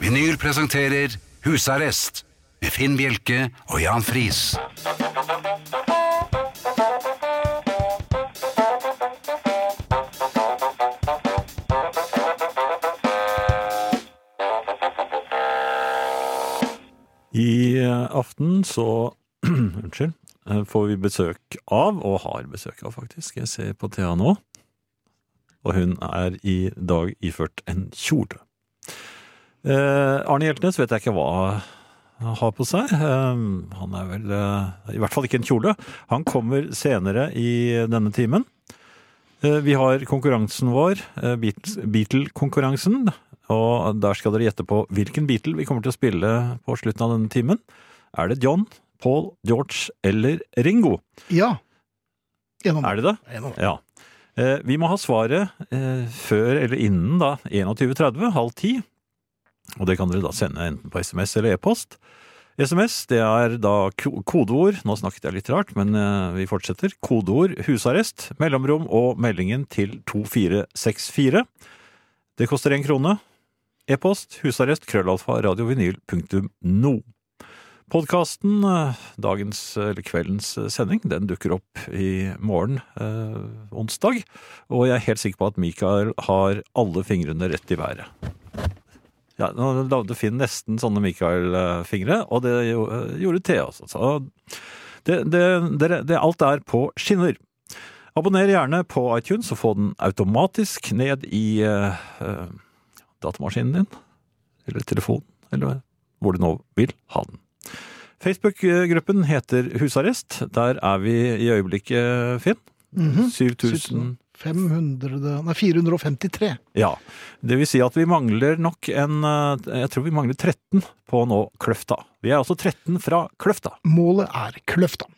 Vinyl presenterer Husarrest med Finn Bjelke og Jan Friis. I eh, aften så Unnskyld. eh, Får vi besøk av, og har besøk av faktisk, jeg ser på Thea nå. Og hun er i dag iført en kjole. Eh, Arne Hjeltnes vet jeg ikke hva han har på seg. Eh, han er vel eh, i hvert fall ikke en kjole. Han kommer senere i denne timen. Eh, vi har konkurransen vår, eh, Beatles- Beatle-konkurransen. Og der skal dere gjette på hvilken Beatle vi kommer til å spille på slutten av denne timen. Er det John, Paul, George eller Ringo? Ja. Gjennom. Er det det? Gjennom. Ja. Eh, Vi må ha svaret eh, før eller innen da 21.30, halv ti. Og det kan dere da sende enten på SMS eller e-post. SMS det er da ko- kodeord Nå snakket jeg litt rart, men eh, vi fortsetter. Kodeord 'husarrest', mellomrom og meldingen til 2464. Det koster én krone. E-post husarrest krøllalfa radiovinyl.no. Podkasten, eh, dagens eller kveldens eh, sending, den dukker opp i morgen, eh, onsdag. Og jeg er helt sikker på at Mikael har alle fingrene rett i været. Ja, nå lagde Finn nesten sånne Mikael-fingre, og det jo- eh, gjorde Thea også. Så det, det, dere- det, alt er på skinner. Abonner gjerne på iTunes og få den automatisk ned i eh, eh, datamaskinen din, eller telefonen, eller hvor du nå vil ha den. Facebook-gruppen heter Husarrest. Der er vi i øyeblikket, Finn. Mhm. 7000 500, nei, 453. Ja. Det vil si at vi mangler nok en eh, Jeg tror vi mangler 13 på å nå Kløfta. Vi er altså 13 fra Kløfta. Målet er Kløfta.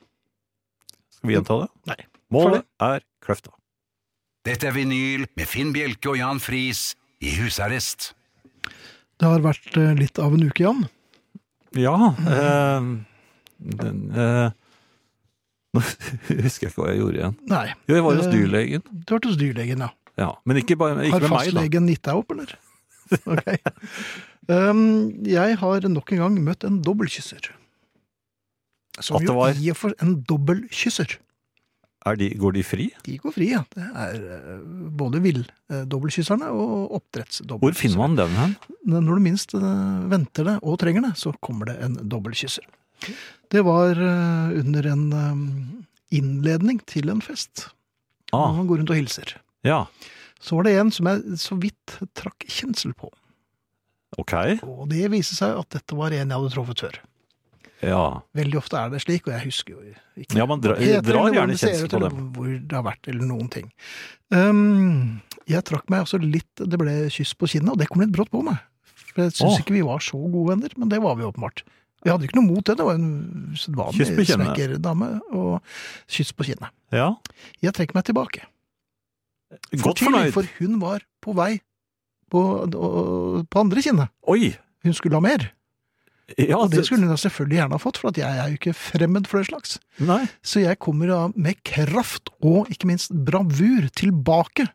Skal vi gjenta det? Mm. Nei. Målet er Kløfta. Dette er vinyl med Finn Bjelke og Jan Friis i husarrest. Det har vært eh, litt av en uke, Jan. Ja eh, den, eh, Nå husker jeg ikke hva jeg gjorde igjen. Nei. Jo, jeg var hos Eh, dyrlegen. Du har vært hos dyrlegen, ja. Ja. Men ikke, bare, ikke Har med meg, da. fastlegen gitt deg opp, eller? Ok. Um, jeg har nok en gang møtt en dobbeltkysser. Som At det jo var- i og for en dobbeltkysser. Er de, går de fri? De går fri, ja. Det er eh, både villdobbeltkysserne og oppdrettsdobbeltkysserne. Hvor finner man den hen? Når du minst eh, venter det og trenger det, så kommer det en dobbeltkysser. Det var eh, under en eh, innledning til en fest. Når Ah, man går rundt og hilser. ja. Så var det en som jeg så vidt trakk kjensel på. Ok. Og det viste seg at dette var en jeg hadde truffet før. Ja. Veldig ofte er det slik, og jeg husker jo ikke Ja, man dra, hva det heter, drar eller hvordan gjerne det ser kjensel ut, på eller dem. Hvor det har vært, eller noen ting. Ehm, jeg trakk meg også litt Det ble kyss på kinnet, og det kom litt brått på meg. For jeg syns Åh. ikke vi var så gode venner, men det var vi åpenbart. Vi hadde ikke noe mot det, det var en Kyss på sedvanlig kinnet. snekkerdame. Og kyss på kinnet. Ja. Jeg trekker meg tilbake. For Godt tidlig, fornøyd. For hun var på vei på, og- på andre kinnet. Oi! Hun skulle ha mer. Ja, Og det det- skulle hun da selvfølgelig gjerne ha fått, for at jeg er jo ikke fremmed for det slags. Nei. Så jeg kommer da med kraft og ikke minst bravur tilbake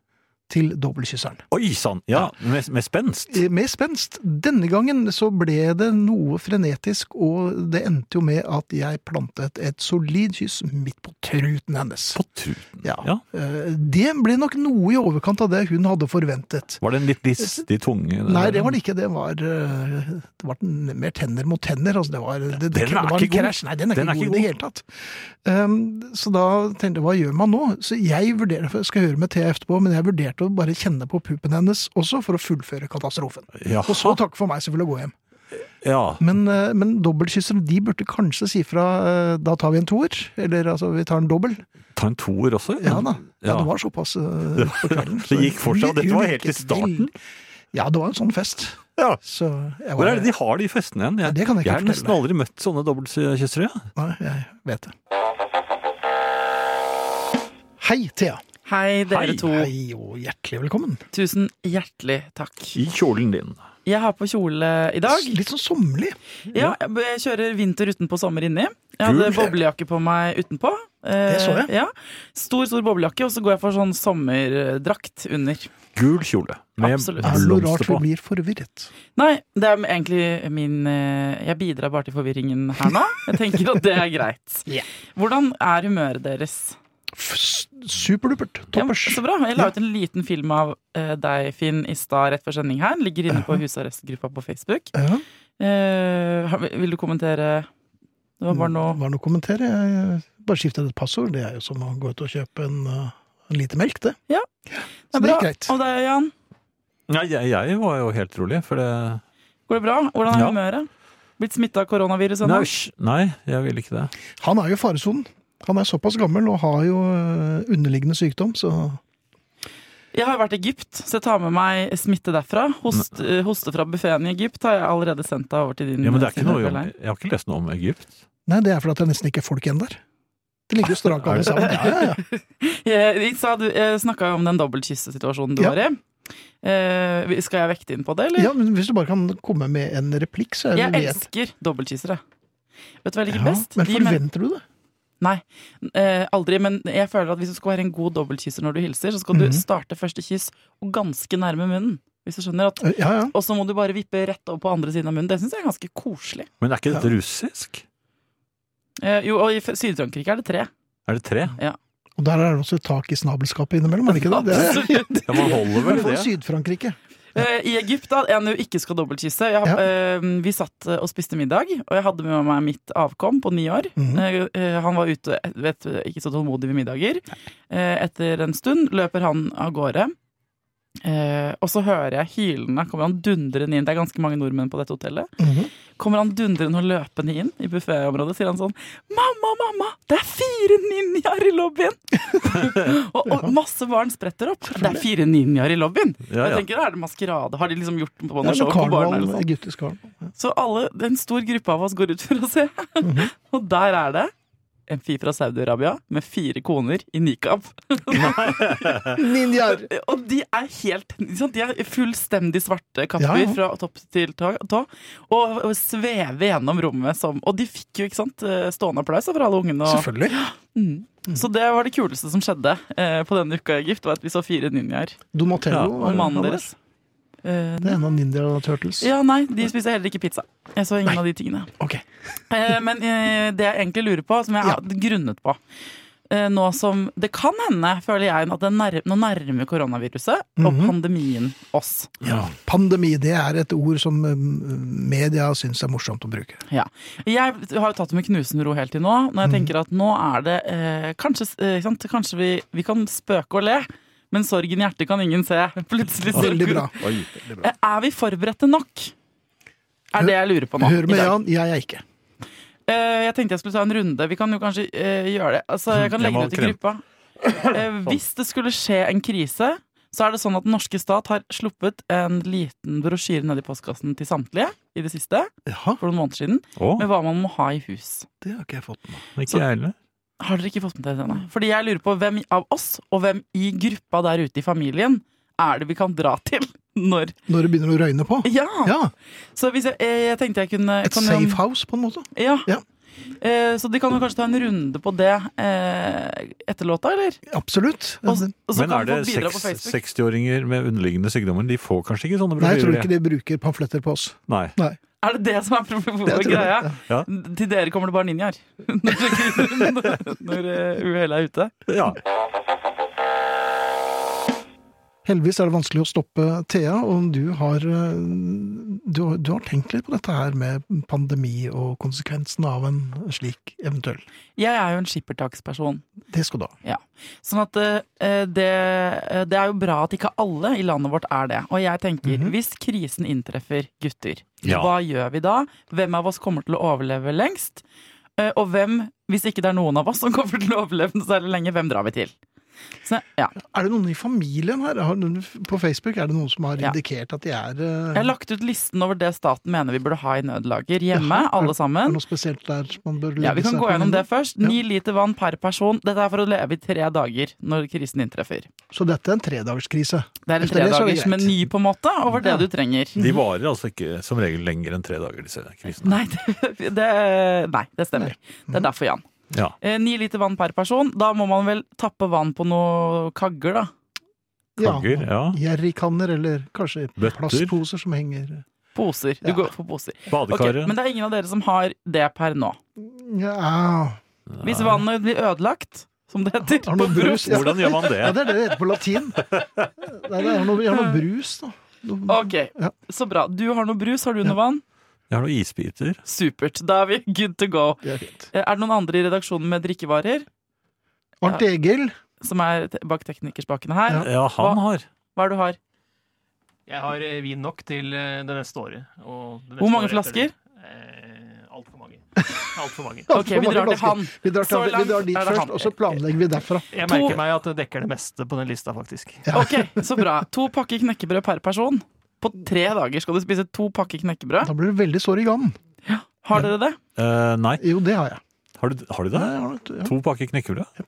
til dobbeltkysseren. Oi sann! Ja, med, med spenst. Eh, Med spenst. Denne gangen så ble det noe frenetisk, og det endte jo med at jeg plantet et solid kyss midt på truten hennes. På truten. Ja. Ja. Eh, Det ble nok noe i overkant av det hun hadde forventet. Var det en litt listig tunge? Nei, det var det ikke. Det var, eh, det var den- mer tenner mot tenner. Altså, det var, det, det, Den er det var en ikke god. krasj. Nei, den er Den ikke god i det hele tatt. Um, så da tenkte jeg, hva gjør man nå? Så jeg vurderer, for jeg skal høre med Thea etterpå, men jeg vurderte å bare kjenne på puppen hennes også for å fullføre katastrofen. Ja. Og så takk for meg, selvfølgelig, å gå hjem. ja. Men, eh, men dobbeltkyssere, de burde kanskje si fra eh, da tar vi en toer, eller altså vi tar en dobbel. Ta en toer også? Ja da. Ja, Ja. det var såpass eh, på kvelden. Det gikk for seg, og dette var helt i starten. Ja, det var en sånn fest. Ja. Så jeg Hvor var, er det de har de festene igjen? Ja, det kan jeg jeg ikke har nesten fortelle. aldri møtt sånne dobbeltkyssere. Ja. Nei, jeg vet det. Hei, Thea. Hei, dere Hei. to. Hei og hjertelig velkommen. Tusen hjertelig takk. I kjolen din. Jeg har på kjole i dag. Litt sånn sommerlig. Ja, jeg jeg kjører vinter utenpå, sommer inni. Jeg hadde Kult. boblejakke på meg utenpå. Eh, Det så jeg. Ja. Stor, stor boblejakke, og så går jeg for sånn sommerdrakt under. Gul kjole med Absolutt. Er det noe blomster rart vi på. blir forvirret? Nei, det er egentlig min eh, Jeg bidrar bare til forvirringen her nå. Jeg tenker at det er greit. Ja. Hvordan er humøret deres? F- s- Superdupert. Ja, Toppers. så bra. Jeg la ut en liten film av eh, deg, Finn, i stad rett før sending her. Den Ligger inne på husarrestgruppa på Facebook. Ja, Eh, har- vil du kommentere? Det var bare det noe var noe å kommentere. Jeg bare skiftet et passord. Det er jo som å gå ut og kjøpe en, uh, en liter melk, det. Ja. Så det bra. gikk greit. Og deg, Jan? Nei, jeg, jeg var jo helt rolig, for det Går det bra? Hvordan er Ja. humøret? Blitt smitta av koronaviruset Nei, ennå? hysj. Nei, jeg ville ikke det. Han er jo i faresonen. Han er såpass gammel og har jo uh, underliggende sykdom, så Jeg har vært i Egypt, så jeg tar med meg smitte derfra. Host, eh, hoste fra buffeen i Egypt har jeg allerede sendt deg over til din. Ja, men det er ikke side, noe føler om, jeg. Mm, Jeg har ikke lest noe om Egypt. Nei, det er fordi at det nesten ikke er folk igjen der. De ligger jo strak alle sammen. Ja, ja, ja. Eh, Isa, du snakka jo om den dobbeltkyssesituasjonen du Ja. var i. Eh, skal jeg vekte inn på det, eller? ja, men Hvis du bare kan komme med en replikk, så er det jeg elsker dobbeltkyssere. Vet du hva jeg liker Ja, best? men De men- forventer du det? Nei, eh, aldri. Men jeg føler at hvis du skal være en god dobbeltkysser når du hilser, så skal Mhm. du starte første kyss og ganske nærme munnen. Hvis du skjønner at Eh, Ja, ja. Og så må du bare vippe rett over på andre siden av munnen. Det syns jeg er ganske koselig. Men er ikke dette russisk? Eh, jo, og i F- Syd-Frankrike er det tre. Er det tre? Og der er det også et tak i snabelskapet innimellom, er det ikke det? det er, Absolutt. Ja, man holder I vel hvert fall det? i Syd-Frankrike. Eh, I Egypt, da, en du ikke skal dobbeltkysse jeg, har- Ja. eh, Vi satt eh, og spiste middag, og jeg hadde med meg mitt avkom på ni år. Mhm. Eh, eh, han var ute, eh, vet, du, ikke så tålmodig ved middager. Eh, etter en stund løper han av gårde. Eh, og så hører jeg hylende Kommer han dundrende inn Det er ganske mange nordmenn på dette hotellet. Mhm. Kommer han dundrende og løpende inn i bufféområdet, sier han sånn Mamma, mamma, det er fire ninjaer i lobbyen! og, og masse barn spretter opp. Det er fire ninjaer i lobbyen! Ja, Jeg ja. tenker, er det maskerade? Har de liksom gjort på Ja, noe show men på barna? karneval, Eller sånn? egyptisk karneval. Ja. Så alle, det er en stor gruppe av oss går ut for å se. Mhm. Og der er det en fyr fra Saudi-Arabia med fire koner i nikab. Ninjaer! Og de er helt ikke sant? De er fullstendig svarte kapper Ja, ja. fra topp til tå. tå, og, og svever gjennom rommet som Og de fikk jo ikke sant, eh, stående applaus fra alle ungene. Og, Selvfølgelig. mm. Så det var det kuleste som skjedde eh, på denne uka i Egypt, var at vi så fire ninjaer. Donatello Ja, var Og det mannen han var. deres. Eh, Det er en av Ninja Turtles. Ja, nei, de spiser heller ikke pizza. Jeg så ingen av de tingene. Ok. Eh, Men eh, det jeg egentlig lurer på, som jeg Ja. har grunnet på eh, Nå som det kan hende, føler jeg, at det nær, nå nærmer koronaviruset og Mhm. pandemien oss. Ja. Pandemi det er et ord som um, media syns er morsomt å bruke. Ja. Jeg har jo tatt det med knusende ro helt til nå. Når jeg Mhm. tenker at nå er det eh, Kanskje, eh, ikke sant? kanskje vi, vi kan spøke og le, men sorgen i hjertet kan ingen se. Plutselig så- Veldig bra. Oi. Eh, Er vi forberedte nok? Er det jeg lurer på nå. Hør i med dag. Jan, jeg er ikke. Eh, jeg tenkte jeg skulle ta en runde. Vi kan jo kanskje eh, gjøre det. Altså, jeg kan Jeg legge må det ut i krem. gruppa. Eh, hvis det skulle skje en krise, så er det sånn at den norske stat har sluppet en liten brosjyre ned i postkassen til samtlige i det siste, Jaha, for noen måneder siden, Å, med hva man må ha i hus. det har ikke jeg fått med meg. ikke jeg heller. Har dere ikke fått med dere det? nei? Fordi jeg lurer på hvem av oss, og hvem i gruppa der ute i familien, er det vi kan dra til når Når det begynner å røyne på. Ja! Ja, Så hvis jeg, eh, jeg tenkte jeg kunne Et kan jo- safe house, på en måte. Ja. Ja. Eh, så de kan jo kanskje ta en runde på det eh, etter låta, eller? Absolutt. Og, s- Nei, og så Men kan er det folk bidra på seks- Facebook. 60-åringer med underliggende sykdommer? De får kanskje ikke sånne jeg tror brosjyrer? ikke de. de bruker pamfletter på oss. Nei. Nei. Er det det som er pro- Det tror jeg. greia? Ja. Til dere kommer det bare ninjaer. når når eh, uhellet er ute. Ja. Heldigvis er det vanskelig å stoppe Thea, og du har, eh, du, har- du har tenkt litt på dette her med pandemi og konsekvensen av en slik eventuell. Jeg er jo en skippertaksperson. Det skal du ha. Sånn at eh, det, eh, det er jo bra at ikke alle i landet vårt er det. Og jeg tenker, Mhm. hvis krisen inntreffer gutter, Ja. hva gjør vi da? Hvem av oss kommer til å overleve lengst? Eh, og hvem, hvis ikke det er noen av oss som kommer til å overleve særlig lenge, hvem drar vi til? Så ja. Er det noen i familien her? Har, noen- på Facebook er det noen som har Ja. indikert at de er eh, Jeg har lagt ut listen over det staten mener vi burde ha i nødlager hjemme, Jaha, er- alle Er det sammen. noe spesielt der som man bør legge Ja, Vi kan seg gå på gjennom minne? det først. Ni liter vann per person. Dette er for å leve i tre dager når krisen inntreffer. Så dette er en tredagerskrise. Det er en Etter det så er det tredagers meny på en måte over det Ja. du trenger. De varer altså ikke som regel lenger enn tre dager, disse krisene. Nei, det, det, nei, det stemmer. Det er derfor, Jan. Ja. Eh, Ni liter vann per person. Da må man vel tappe vann på noe kagger, da. Kagger, ja. Jerrykanner, eller kanskje Bøtter. plastposer som henger Poser. Du Ja. går for poser. Ok, Badekaret. men det er ingen av dere som har det per nå. Ja, Hvis Nei. vannet blir ødelagt, som det heter Har noe på brus? Ja. Hvordan gjør man ja, det? det er det det heter på latin. Nei, det er noe, jeg har noe brus, da. Noe- Ok, Ja. så bra. Du har noe brus, har du Ja. noe vann? Jeg har noen isbiter. Supert. Da er vi good to go. Det er fint. Eh, Er det noen andre i redaksjonen med drikkevarer? Arnt Egil. Som er te- bak teknikerspakene her? Ja. Ja, han har. Hva er det du har? Jeg har eh, vin nok til eh, det neste året. Og det neste Hvor mange året etter flasker? det. Eh, Altfor mange. Altfor mange. Ok, vi drar til han. Vi drar, til, Så vi langt drar dit er det han. først, og så planlegger vi derfra. Jeg To- merker meg at det dekker det meste på den lista, faktisk. Ok, så bra. To pakker knekkebrød per person. På tre dager skal du spise to pakker knekkebrød. Da blir du veldig sår i gangen. Har dere det? Eh, nei, Jo, det har jeg. har du, har du det? Nei, jeg har nok- ja. To pakker knekkebrød?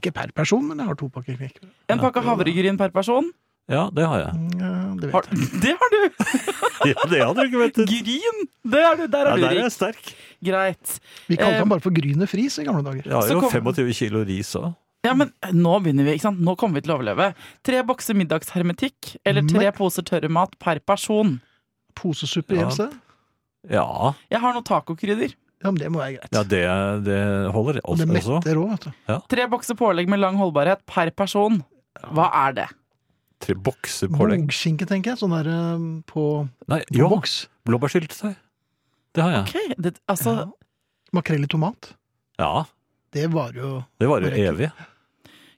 Ikke per person, men jeg har to pakker knekkebrød. En pakke havregryn per person. Ja, det har jeg. Mm, ja, Det vet Har, jeg. det har du! Ja, det hadde du ikke ventet. Gryn! Det er du, der Ja, er du der er jeg rik. sterk. Greit. Vi kalte Eh, han bare for Gryne Friis i gamle dager. Jeg har Så jo kom- 25 kilo ris òg. Ja, men eh, nå begynner vi, ikke sant? Nå kommer vi til å overleve. Tre bokser middagshermetikk, eller tre Nei. poser tørrmat per person. Posesuppe Ja. igjen sted. Ja, Jeg har noen tacokrydder. Ja, men det må være greit. ja det, det holder og også. det metter òg, vet du. Tre bokser pålegg med lang holdbarhet per person. Hva er det? Tre bokser pålegg. Bogskinke, tenker jeg. Sånn der eh, på, Nei, på jo, boks. blåbærsyltetøy. Det har jeg. Ok, det, altså, Ja. Makrell i tomat. Ja, Det var jo det varer Merker. jo evig.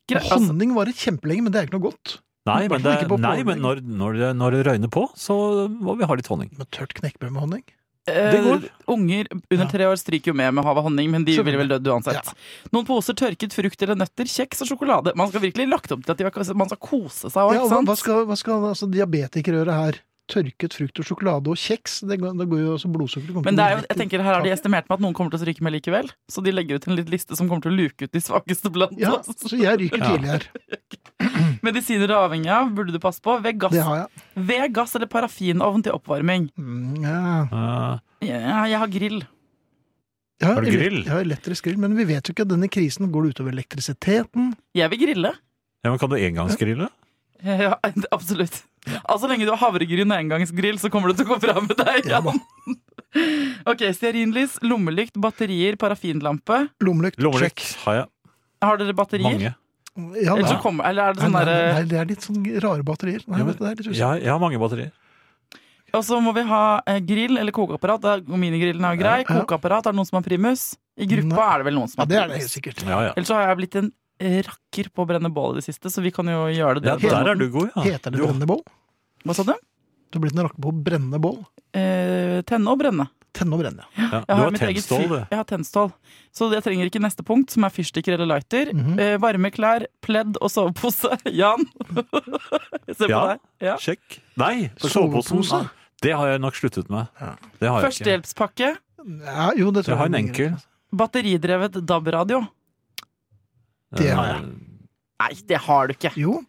gre altså Honning varer kjempelenge, men det er ikke noe godt. Nei, men, det, Hvertfall ikke på nei, pålegg. men når, når, det, når det røyner på, så må vi ha litt honning. Men tørt knekkebrød med honning? eh, går. Unger under Ja. tre år stryker jo med med hav og honning, men de Selvfølgelig. ville vel dødd uansett. Noen poser tørket frukt eller nøtter, kjeks og sjokolade. Man skal virkelig lagt opp til at de, man skal kose seg òg, Ja, og ikke hva- hva sant? skal, hva skal altså, diabetiker gjøre her? Tørket frukt og sjokolade og kjeks? Det går, det går jo altså blodsukkeret kommer Men til å det er gå jo, rett jeg i tenker her har de taket. estimert med at noen kommer til å stryke med likevel. Så de legger ut en litt liste som kommer til å luke ut de svakeste blant ja, oss. så jeg ryker Ja. tidlig her. Medisiner du er avhengig av, burde du passe på. Ved gass, Det har jeg. ved gass eller parafinovn til oppvarming. Mm, ja. Eh, Ja, jeg har grill. Jeg Har du elek- grill? Jeg har elektrisk grill, men vi vet jo ikke at denne krisen går det utover elektrisiteten. Jeg vil grille. ja, men kan du engangsgrille? Ja, absolutt. Altså, så lenge du har havregryn og engangsgrill, så kommer det til å gå bra med deg. Ja da. ok, Stearinlys, lommelykt, batterier, parafinlampe. Lommelykt, Lommelykt check. har jeg. Har dere batterier? Mange. Ja, Eller, nei. så kommer, eller er det Nei, sånn nei, nei, derre nei, det er litt sånn rare batterier. Nei, Ja, vet du, det er litt Jeg, usikkert. har- jeg har mange batterier. Og så må vi ha eh, grill eller kokeapparat. Da- Minigrillen er jo grei. Ja. Kokeapparat, er det noen som har primus? I gruppa Nei. er det vel noen som Ja, har det er det helt primus. sikkert. Ja, ja. Ellers så har jeg blitt en eh, rakker på å brenne bål i det siste, så vi kan jo gjøre det. ja dere der på er du god, ja. Heter det Du- brennebål? Hva sa du? Du er blitt en rakker på å brenne bål. Eh, tenne og brenne. Tenne og brenne. ja, Jeg du har, har mitt eget tennstål, fyr. du. Jeg har tennstål. Så jeg trenger ikke neste punkt, som er fyrstikker eller lighter. Mhm. eh, varme klær, pledd og sovepose. Jan! jeg ser på Ja. deg. Ja. Sjekk. Nei, for soveposen. Sovepose? Nei, Det har jeg nok sluttet med. Ja. Det har jeg ikke. Førstehjelpspakke, Ja, jo, det tror Jeg har en er enkel. greit. batteridrevet DAB-radio. Eh, Det har jeg. Nei, det har du ikke! Jo,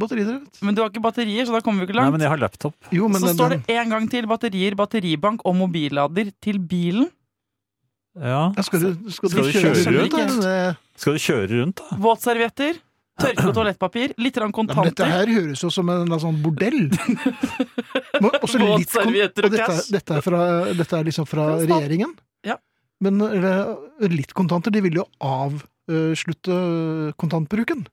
batteridrevet. Men du har ikke batterier, så da kommer vi ikke Nei, langt. men jeg har laptop. Jo, men så den, står den, det en gang til batterier, batteribank og mobillader til bilen. Ja. ja, skal, du, skal, Skal du du kjøre, kjøre rundt? eh, rundt? eller? Skal du kjøre rundt, da? Våtservietter, tørke og toalettpapir, litt grann Nei, men dette kontanter. her høres jo som en eller annen sånn bordell. Men også litt kon- Våtservietter og og dette, cash. dette, er fra, dette er liksom fra Fra staten. regjeringen. Ja. Men eller, litt kontanter, de vil jo avslutte eh, kontantbruken.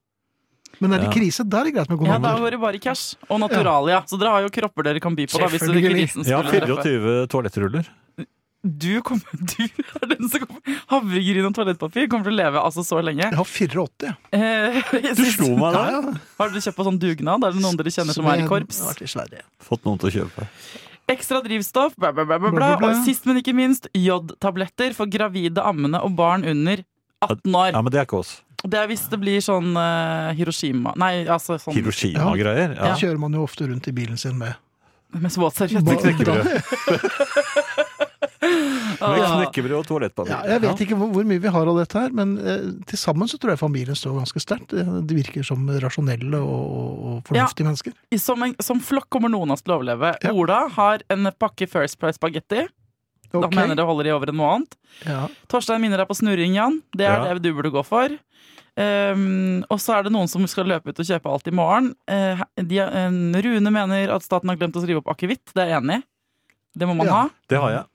Men er det Ja. krise, der er det greit med Ja, da kontanter. går det bare cash og naturalia. Så dere har jo kropper dere kan by på. da hvis det Selvfølgelig. Jeg krisen skulle har treffe. 24 toalettruller. Du, kommer, du er den som kommer Havregryn og toalettpapir kommer til å leve altså så lenge. Jeg har 84. Eh, jeg Du synes- slo meg Ja, der! ja. Har dere kjøpt på sånn dugnad? Er det noen dere kjenner som er i jeg korps? har vært i Sverige. Fått noen til å kjøpe. Ekstra drivstoff, bla, bla, bla, bla, bla. Bla, bla, bla. Og sist, men ikke minst, jodtabletter for gravide, ammende og barn under 18 år. Ja, men det er ikke oss. Det er hvis det blir sånn eh, Hiroshima Nei, altså sånn Hiroshima-greier. Det Ja. kjører man jo ofte rundt i bilen sin med. Mens Ba- våtservietter knekker. da- Med Ah. knekkebrød og toalettpapir. Ja, jeg vet ikke hvor, hvor mye vi har av dette her, men eh, til sammen så tror jeg familien står ganske sterkt. Eh, De virker som rasjonelle og, og- og fornuftige mennesker. I- Som, en, som flokk kommer noen av oss til å overleve. Ja. Ola har en pakke First Price spagetti. Da Ok. mener det holder i over en måned. Ja. Torstein minner deg på snurring, Jan. Det er Ja. det du burde gå for. Ehm, og så er det noen som skal løpe ut og kjøpe alt i morgen. Eh, de, eh, Rune mener at staten har glemt å skrive opp akevitt. Det er jeg enig i. Det må man Ja. ha. Det har jeg.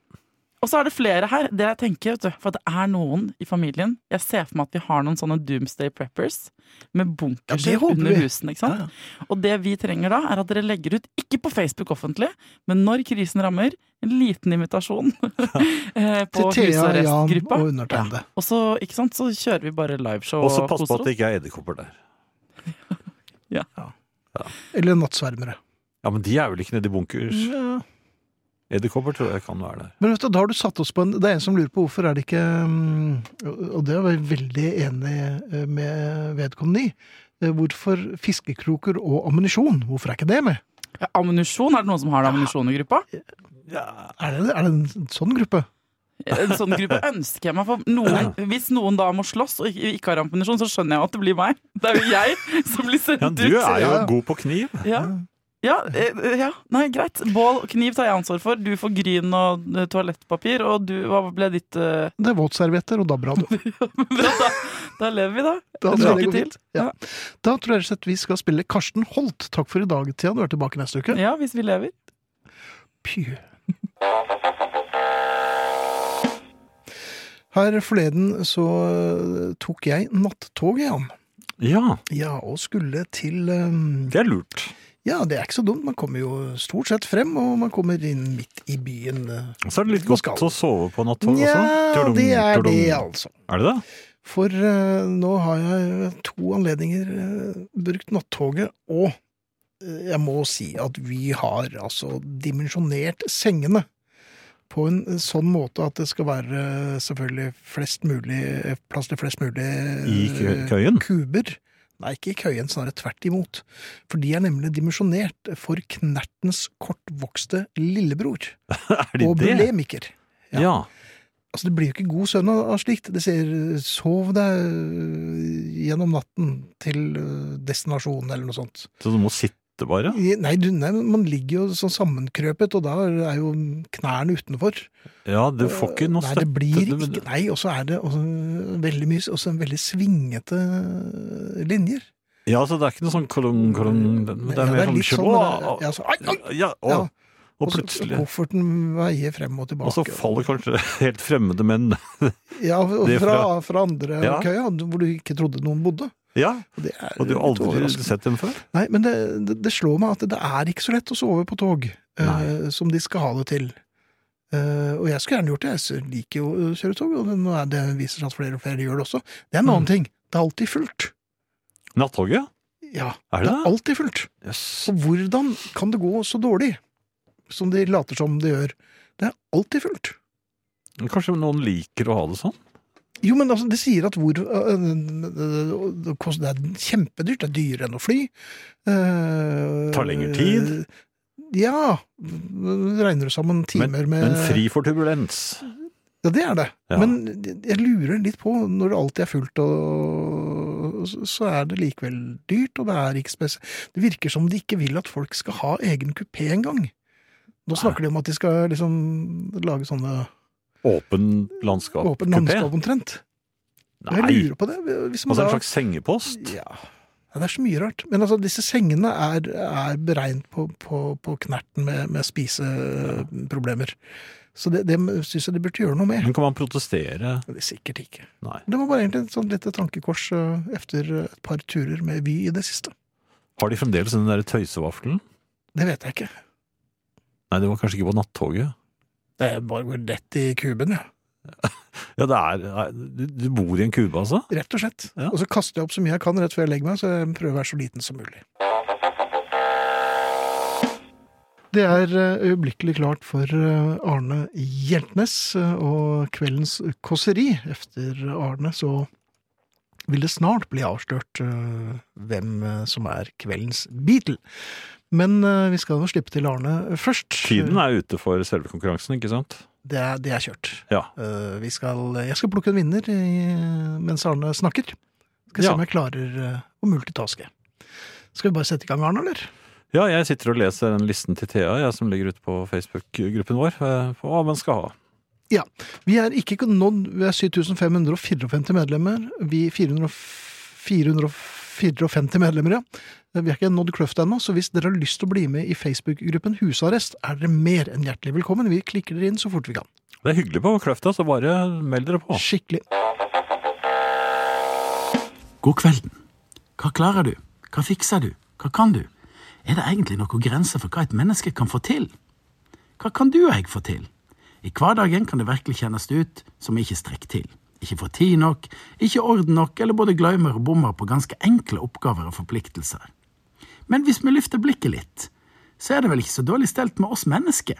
Og så er det flere her. Det jeg tenker, vet du, for det er noen i familien Jeg ser for meg at vi har noen sånne Doomsday Preppers med bunkers Ja, det håper under vi. husene. ikke sant? Og det vi trenger da, er at dere legger ut, ikke på Facebook offentlig, men når krisen rammer, en liten invitasjon eh, på Til Hus og Thea, Jan Rest-gruppa. og undertegnede. Og så, ikke sant, så kjører vi bare liveshow Og så pass på koser at det ikke er edderkopper der. Eller nattsvermere. Ja, Men de er vel ikke nede i bunkers? Ja. Edderkopper tror jeg kan være der. Men vet du, da har du satt oss på en Det er en som lurer på hvorfor er det ikke mm, Og det var jeg veldig enig eh, med vedkommende i. Eh, Hvorfor fiskekroker og ammunisjon? Hvorfor er ikke det med? oss. Ja, ammunisjon, er det noen som har ammunisjon i gruppa? Er det, er det en sånn gruppe? En sånn gruppe ønsker jeg meg for noen. Hvis noen da må slåss og ikke ikke har ammunisjon, så skjønner jeg jo at det blir meg. Det er jo jeg som blir sendt Ja, ut. du er jo ja. god på kniv. Ja. Ja, eh, ja, nei, greit. Bål og kniv tar jeg ansvar for. Du får gryn og eh, toalettpapir, og du, hva ble ditt eh, Det er våtservietter og DAB-radio. bra, da, da lever vi, da. Da tror Lykke jeg det går til. fint. Ja. Da tror jeg rett og slett vi skal spille Karsten Holt. Takk for i dag, Thea. Du er tilbake neste uke. Ja, hvis vi lever. Pju. Her forleden så eh, tok jeg nattoget, Jan. Ja, Ja, og skulle til eh, det er lurt. Ja, det er ikke så dumt. Man kommer jo stort sett frem, og man kommer inn midt i byen. eh. Og så er det litt Man godt skal. å sove på nattog også. Nja, Tudum, det er tudum. det, altså. Er det det? For eh, nå har jeg ved to anledninger eh, brukt nattoget, og eh, jeg må si at vi har altså dimensjonert sengene på en sånn måte at det skal være eh, selvfølgelig flest mulig, eh, plass til flest mulig eh, I kø- køyen? kuber. Nei, ikke i køyen, snarere tvert imot. For de er nemlig dimensjonert for knertens kortvokste lillebror Er de og det? bulemiker. Ja. Ja. Altså, det blir jo ikke god søvn av av slikt. Det sier øh, 'sov deg øh, gjennom natten til øh, destinasjonen', eller noe sånt. Så du må sitte bare? I- Nei, du, nei, men man ligger jo sånn sammenkrøpet, og da er jo knærne utenfor. Ja, du får ikke noe Eh, Nei, støtte. det blir du- ikke Nei, og så er det også veldig mye Også en veldig svingete øh, linjer. Ja, så det er ikke noe sånn kolong, kolong Det er Ja, mer sånn litt sånn «Sjå!» øh, ja, så, ai, ai, Ja, ja. og, og så- plutselig Kofferten veier frem og tilbake. Og så faller kanskje helt fremmede menn Ja, og det fra, fra- fra andre Ja. køya, hvor du ikke trodde noen bodde. Ja, Og, det er og du har litt aldri overraskende. sett dem før? Nei, men det, det, det slår meg at det er ikke så lett å sove på tog eh, Nei. som de skal ha det til. Eh, og jeg skulle gjerne gjort det, jeg s- liker jo å kjøre tog, og det, nå er det viser seg at flere og flere gjør det også. Det er en annen Mm. ting. Det er alltid fullt. Nattoget? Ja, Er det det er det? alltid fullt. Jøss. Så hvordan kan det gå så dårlig som de later som de gjør? Det er alltid fullt. Men Kanskje noen liker å ha det sånn? Jo, men altså, det sier at hvor øh, øh, det kost- Det er kjempedyrt, det er dyrere enn å fly. Eh, Tar lengre tid. Ja. Regner du sammen timer med Men fri for turbulens. Ja, det er det. Ja. Men jeg lurer litt på, når det alltid er fullt, og så er det likevel dyrt, og det er ikke spesielt Det virker som de ikke vil at folk skal ha egen kupé engang. Nå snakker de om at de skal liksom lage sånne Åpen landskap. åpent kupé. landskap omtrent. Jeg Nei! lurer på det. Hvis man Altså en da- slags sengepost? Ja. ja, det er så mye rart. Men altså, disse sengene er, er beregnet på, på, på knerten med, med spiseproblemer. Så det, det syns jeg de burde gjøre noe med. Men kan man protestere? Men det er sikkert ikke. Nei. Det var bare egentlig et sånt lite tankekors eh, etter et par turer med Vy i det siste. Har de fremdeles den derre tøysevaffelen? Det vet jeg ikke. Nei, det var kanskje ikke på nattoget. Det bare går rett i kuben, ja. Ja, det er nei, Du du bor i en kube, altså? Rett og slett. Ja. Og så kaster jeg opp så mye jeg kan rett før jeg legger meg, så jeg prøver å være så liten som mulig. Det er eh, øyeblikkelig klart for eh, Arne Hjeltnes eh, og kveldens kåseri. Efter Arne så vil det snart bli avslørt eh, hvem eh, som er kveldens Beatle. Men eh, vi skal jo slippe til Arne først. Tiden er ute for selve konkurransen, ikke sant? Det er, det er kjørt. Ja. Eh, vi skal, jeg skal plukke en vinner i, mens Arne snakker. Skal se Ja. om jeg klarer eh, å multitaske. Skal vi bare sette i gang, Arne, eller? Ja, jeg sitter og leser den listen til Thea, jeg som ligger ute på Facebook-gruppen vår, eh, på hva man skal ha. Vi er ikke nådd Vi er 7554 medlemmer. Vi 400, 454 medlemmer, ja. Vi har ikke nådd kløfta ennå, så hvis dere har lyst til å bli med i Facebook-gruppen Husarrest, er dere mer enn hjertelig velkommen. Vi klikker dere inn så fort vi kan. Det er hyggelig på Kløfta, så bare meld dere på. Skikkelig. God kvelden. Hva klarer du? Hva fikser du? Hva kan du? Er det egentlig noen grenser for hva et menneske kan få til? Hva kan du og jeg få til? I hverdagen kan det virkelig kjennes ut som vi ikke strekker til. Ikke får tid nok, ikke orden nok, eller både glemmer og bommer på ganske enkle oppgaver og forpliktelser. Men hvis vi løfter blikket litt, så er det vel ikke så dårlig stelt med oss mennesker?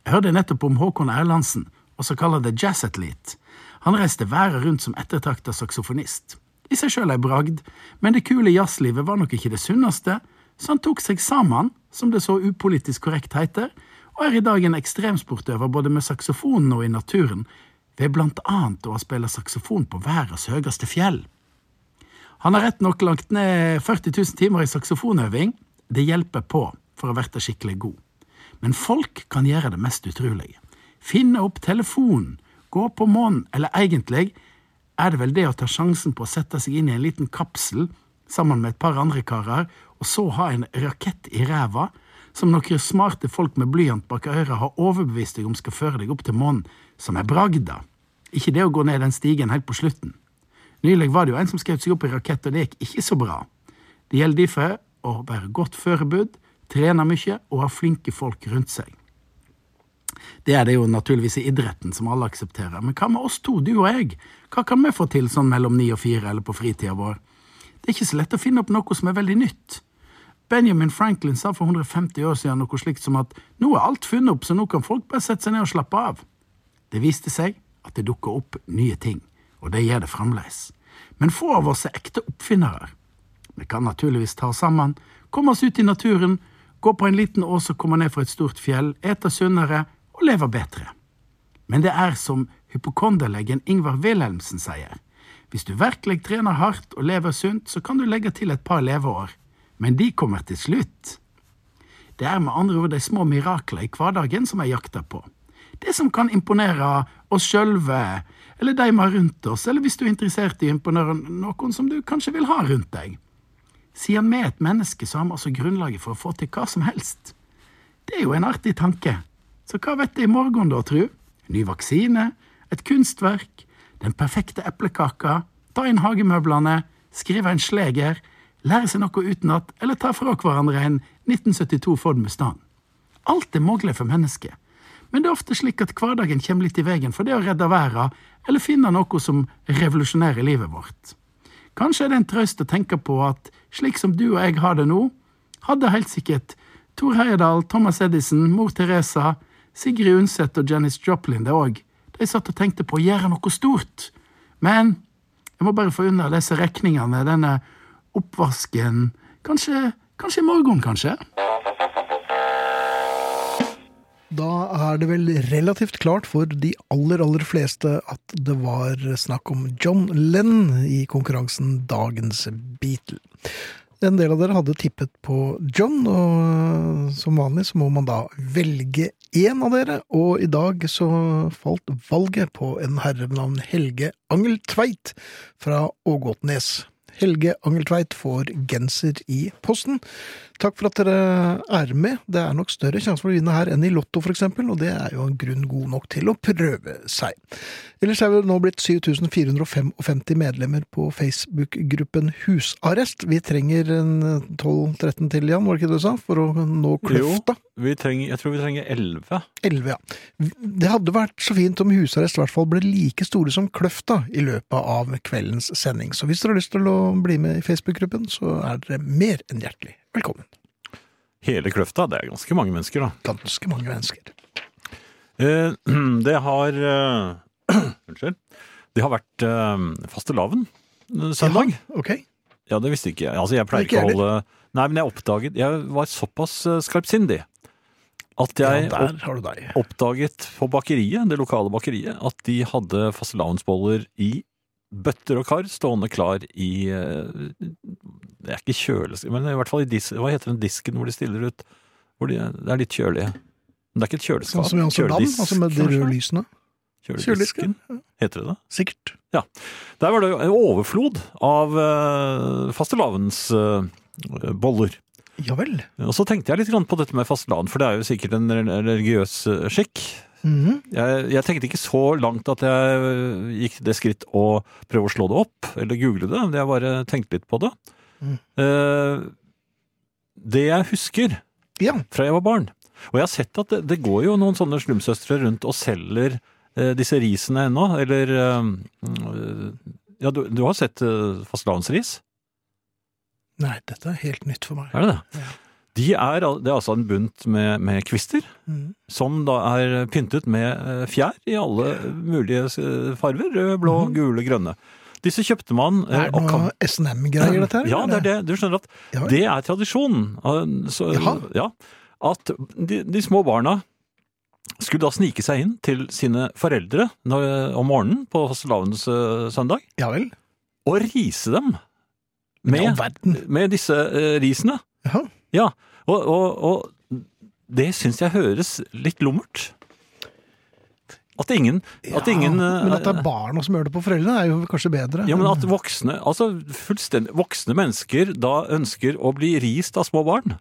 Jeg hørte nettopp om Håkon Erlandsen, også kalt The Jazz Athlete. Han reiste verden rundt som ettertrakta saksofonist. I seg sjøl ei bragd, men det kule jazzlivet var nok ikke det sunneste, så han tok seg sammen, som det så upolitisk korrekt heter, og er i dag en ekstremsportøver både med saksofonen og i naturen, ved blant annet å ha spilt saksofon på verdens høyeste fjell. Han har rett nok lagt ned 40 000 timer i saksofonøving. Det hjelper på for å være skikkelig god. Men folk kan gjøre det mest utrolige. Finne opp telefonen, gå på månen, eller egentlig er det vel det å ta sjansen på å sette seg inn i en liten kapsel sammen med et par andre karer, og så ha en rakett i ræva, som noen smarte folk med blyant bak øret har overbevist deg om skal føre deg opp til månen, som er bragda. Ikke det å gå ned den stigen helt på slutten. Nylig var det jo en som skjøt seg opp i rakett, og det gikk ikke så bra. Det gjelder derfor å være godt forberedt, trene mye og ha flinke folk rundt seg. Det er det jo naturligvis i idretten som alle aksepterer, men hva med oss to, du og jeg? Hva kan vi få til sånn mellom ni og fire eller på fritida vår? Det er ikke så lett å finne opp noe som er veldig nytt. Benjamin Franklin sa for 150 år siden noe slikt som at nå er alt funnet opp, så nå kan folk bare sette seg ned og slappe av. Det viste seg at det dukker opp nye ting, og det gjør det fremdeles. Men få av oss er ekte oppfinnere. Vi kan naturligvis ta oss sammen, komme oss ut i naturen, gå på en liten ås og komme ned fra et stort fjell, ete sunnere og leve bedre. Men det er som hypokonderlegen Ingvar Wilhelmsen sier. Hvis du virkelig trener hardt og lever sunt, så kan du legge til et par leveår. Men de kommer til slutt. Det er med andre ord de små mirakler i hverdagen som jeg jakter på. Det som kan imponere oss sjølve, eller de vi har rundt oss, eller hvis du er interessert i å imponere noen som du kanskje vil ha rundt deg. Siden vi er et menneske, så har vi altså grunnlaget for å få til hva som helst. Det er jo en artig tanke. Så hva vet jeg i morgen, da, tru? Ny vaksine? Et kunstverk? Den perfekte eplekaka? Ta inn hagemøblene? Skrive en sleger? Lære seg noe utenat? Eller ta fra hverandre en 1972 Ford Mustang? Alt er mulig for mennesket. Men det er ofte slik at hverdagen kommer litt i veien for det å redde verden, eller finne noe som revolusjonerer livet vårt. Kanskje er det en trøst å tenke på at slik som du og jeg har det nå, hadde helt sikkert Tor Heyerdahl, Thomas Edison, mor Teresa, Sigrid Undset og Janis Joplin det òg. De satt og tenkte på å gjøre noe stort. Men jeg må bare få unna disse regningene, denne oppvasken. Kanskje, kanskje i morgen, kanskje? Da er det vel relativt klart for de aller, aller fleste at det var snakk om John Lennon i konkurransen Dagens Beatle. En del av dere hadde tippet på John, og som vanlig så må man da velge én av dere, og i dag så falt valget på en herre ved navn Helge Angeltveit fra Ågotnes. Helge Angeltveit får genser i posten. Takk for at dere er med. Det er nok større sjanse for å vinne her enn i Lotto, f.eks., og det er jo en grunn god nok til å prøve seg. Ellers er vi nå blitt 7455 medlemmer på Facebook-gruppen Husarrest. Vi trenger en 12-13 til, Jan, var det ikke det du sa, for å nå kløfta? Vi trenger, jeg tror vi trenger elleve. 11, ja. Det hadde vært så fint om husarrest i hvert fall ble like store som Kløfta i løpet av kveldens sending. Så hvis dere har lyst til å bli med i Facebook-gruppen, så er dere mer enn hjertelig velkommen. Hele Kløfta, det er ganske mange mennesker, da. Ganske mange mennesker. Eh, Det har eh, Unnskyld. Det har vært eh, fastelavn eh, søndag. Ok. Ja, det visste ikke jeg. Altså, jeg pleier Ikke ikke å jeg holde Nei, men jeg oppdaget Jeg var såpass eh, skarpsindig at Ja, jeg der har du deg. opp- oppdaget på bakeriet, det lokale bakeriet, at de hadde fastelavnsboller i bøtter og kar stående klar i eh, Det er ikke kjølesk... Men i hvert fall i dis, hva heter den disken hvor de stiller ut hvor de, Det er litt kjølige. Men det er ikke et kjøleskap. Sånn som i Amsterdam, Kjøledisk, altså med de kanskje? røde lysene. Kjøledisken, heter det det? Sikkert. Der var det jo en overflod av uh, fastelavnsboller. Ja vel. Og så tenkte jeg litt grann på dette med fastelavn, for det er jo sikkert en re- religiøs eh, skikk. Mhm. Jeg, jeg tenkte ikke så langt at jeg eh, gikk til det skritt å prøve å slå det opp, eller google det, men jeg bare tenkte litt på det. Mm. Eh, det jeg husker Ja. fra jeg var barn, og jeg har sett at det, det går jo noen sånne slumsøstre rundt og selger eh, disse risene ennå, eller eh, mm, eh, Ja, du, du har sett eh, fastelavnsris? Nei, dette er helt nytt for meg. Er det det? De er, al- det er altså en bunt med, med kvister, Mhm. som da er pyntet med eh, fjær i alle mulige eh, farver. Rød, blå, gule, grønne. Disse kjøpte man eh, Mhm. Er det og kan- noe SNM-greier, dette her? Ja, det er det. Du skjønner at Ja, vel. det er tradisjonen. Eh, Så, Jaha. ja, at de, de små barna skulle da snike seg inn til sine foreldre når, om morgenen på fastelavns eh, søndag, Ja vel. og rise dem Med all med, verden. med disse eh, risene. Jaha. Ja, og, og, og det syns jeg høres litt lummert. At ingen, at Ja, ingen men at det er eh, barna som gjør det på foreldrene, er jo kanskje bedre. ja, men at voksne, altså fullstendig voksne mennesker da ønsker å bli rist av små barn.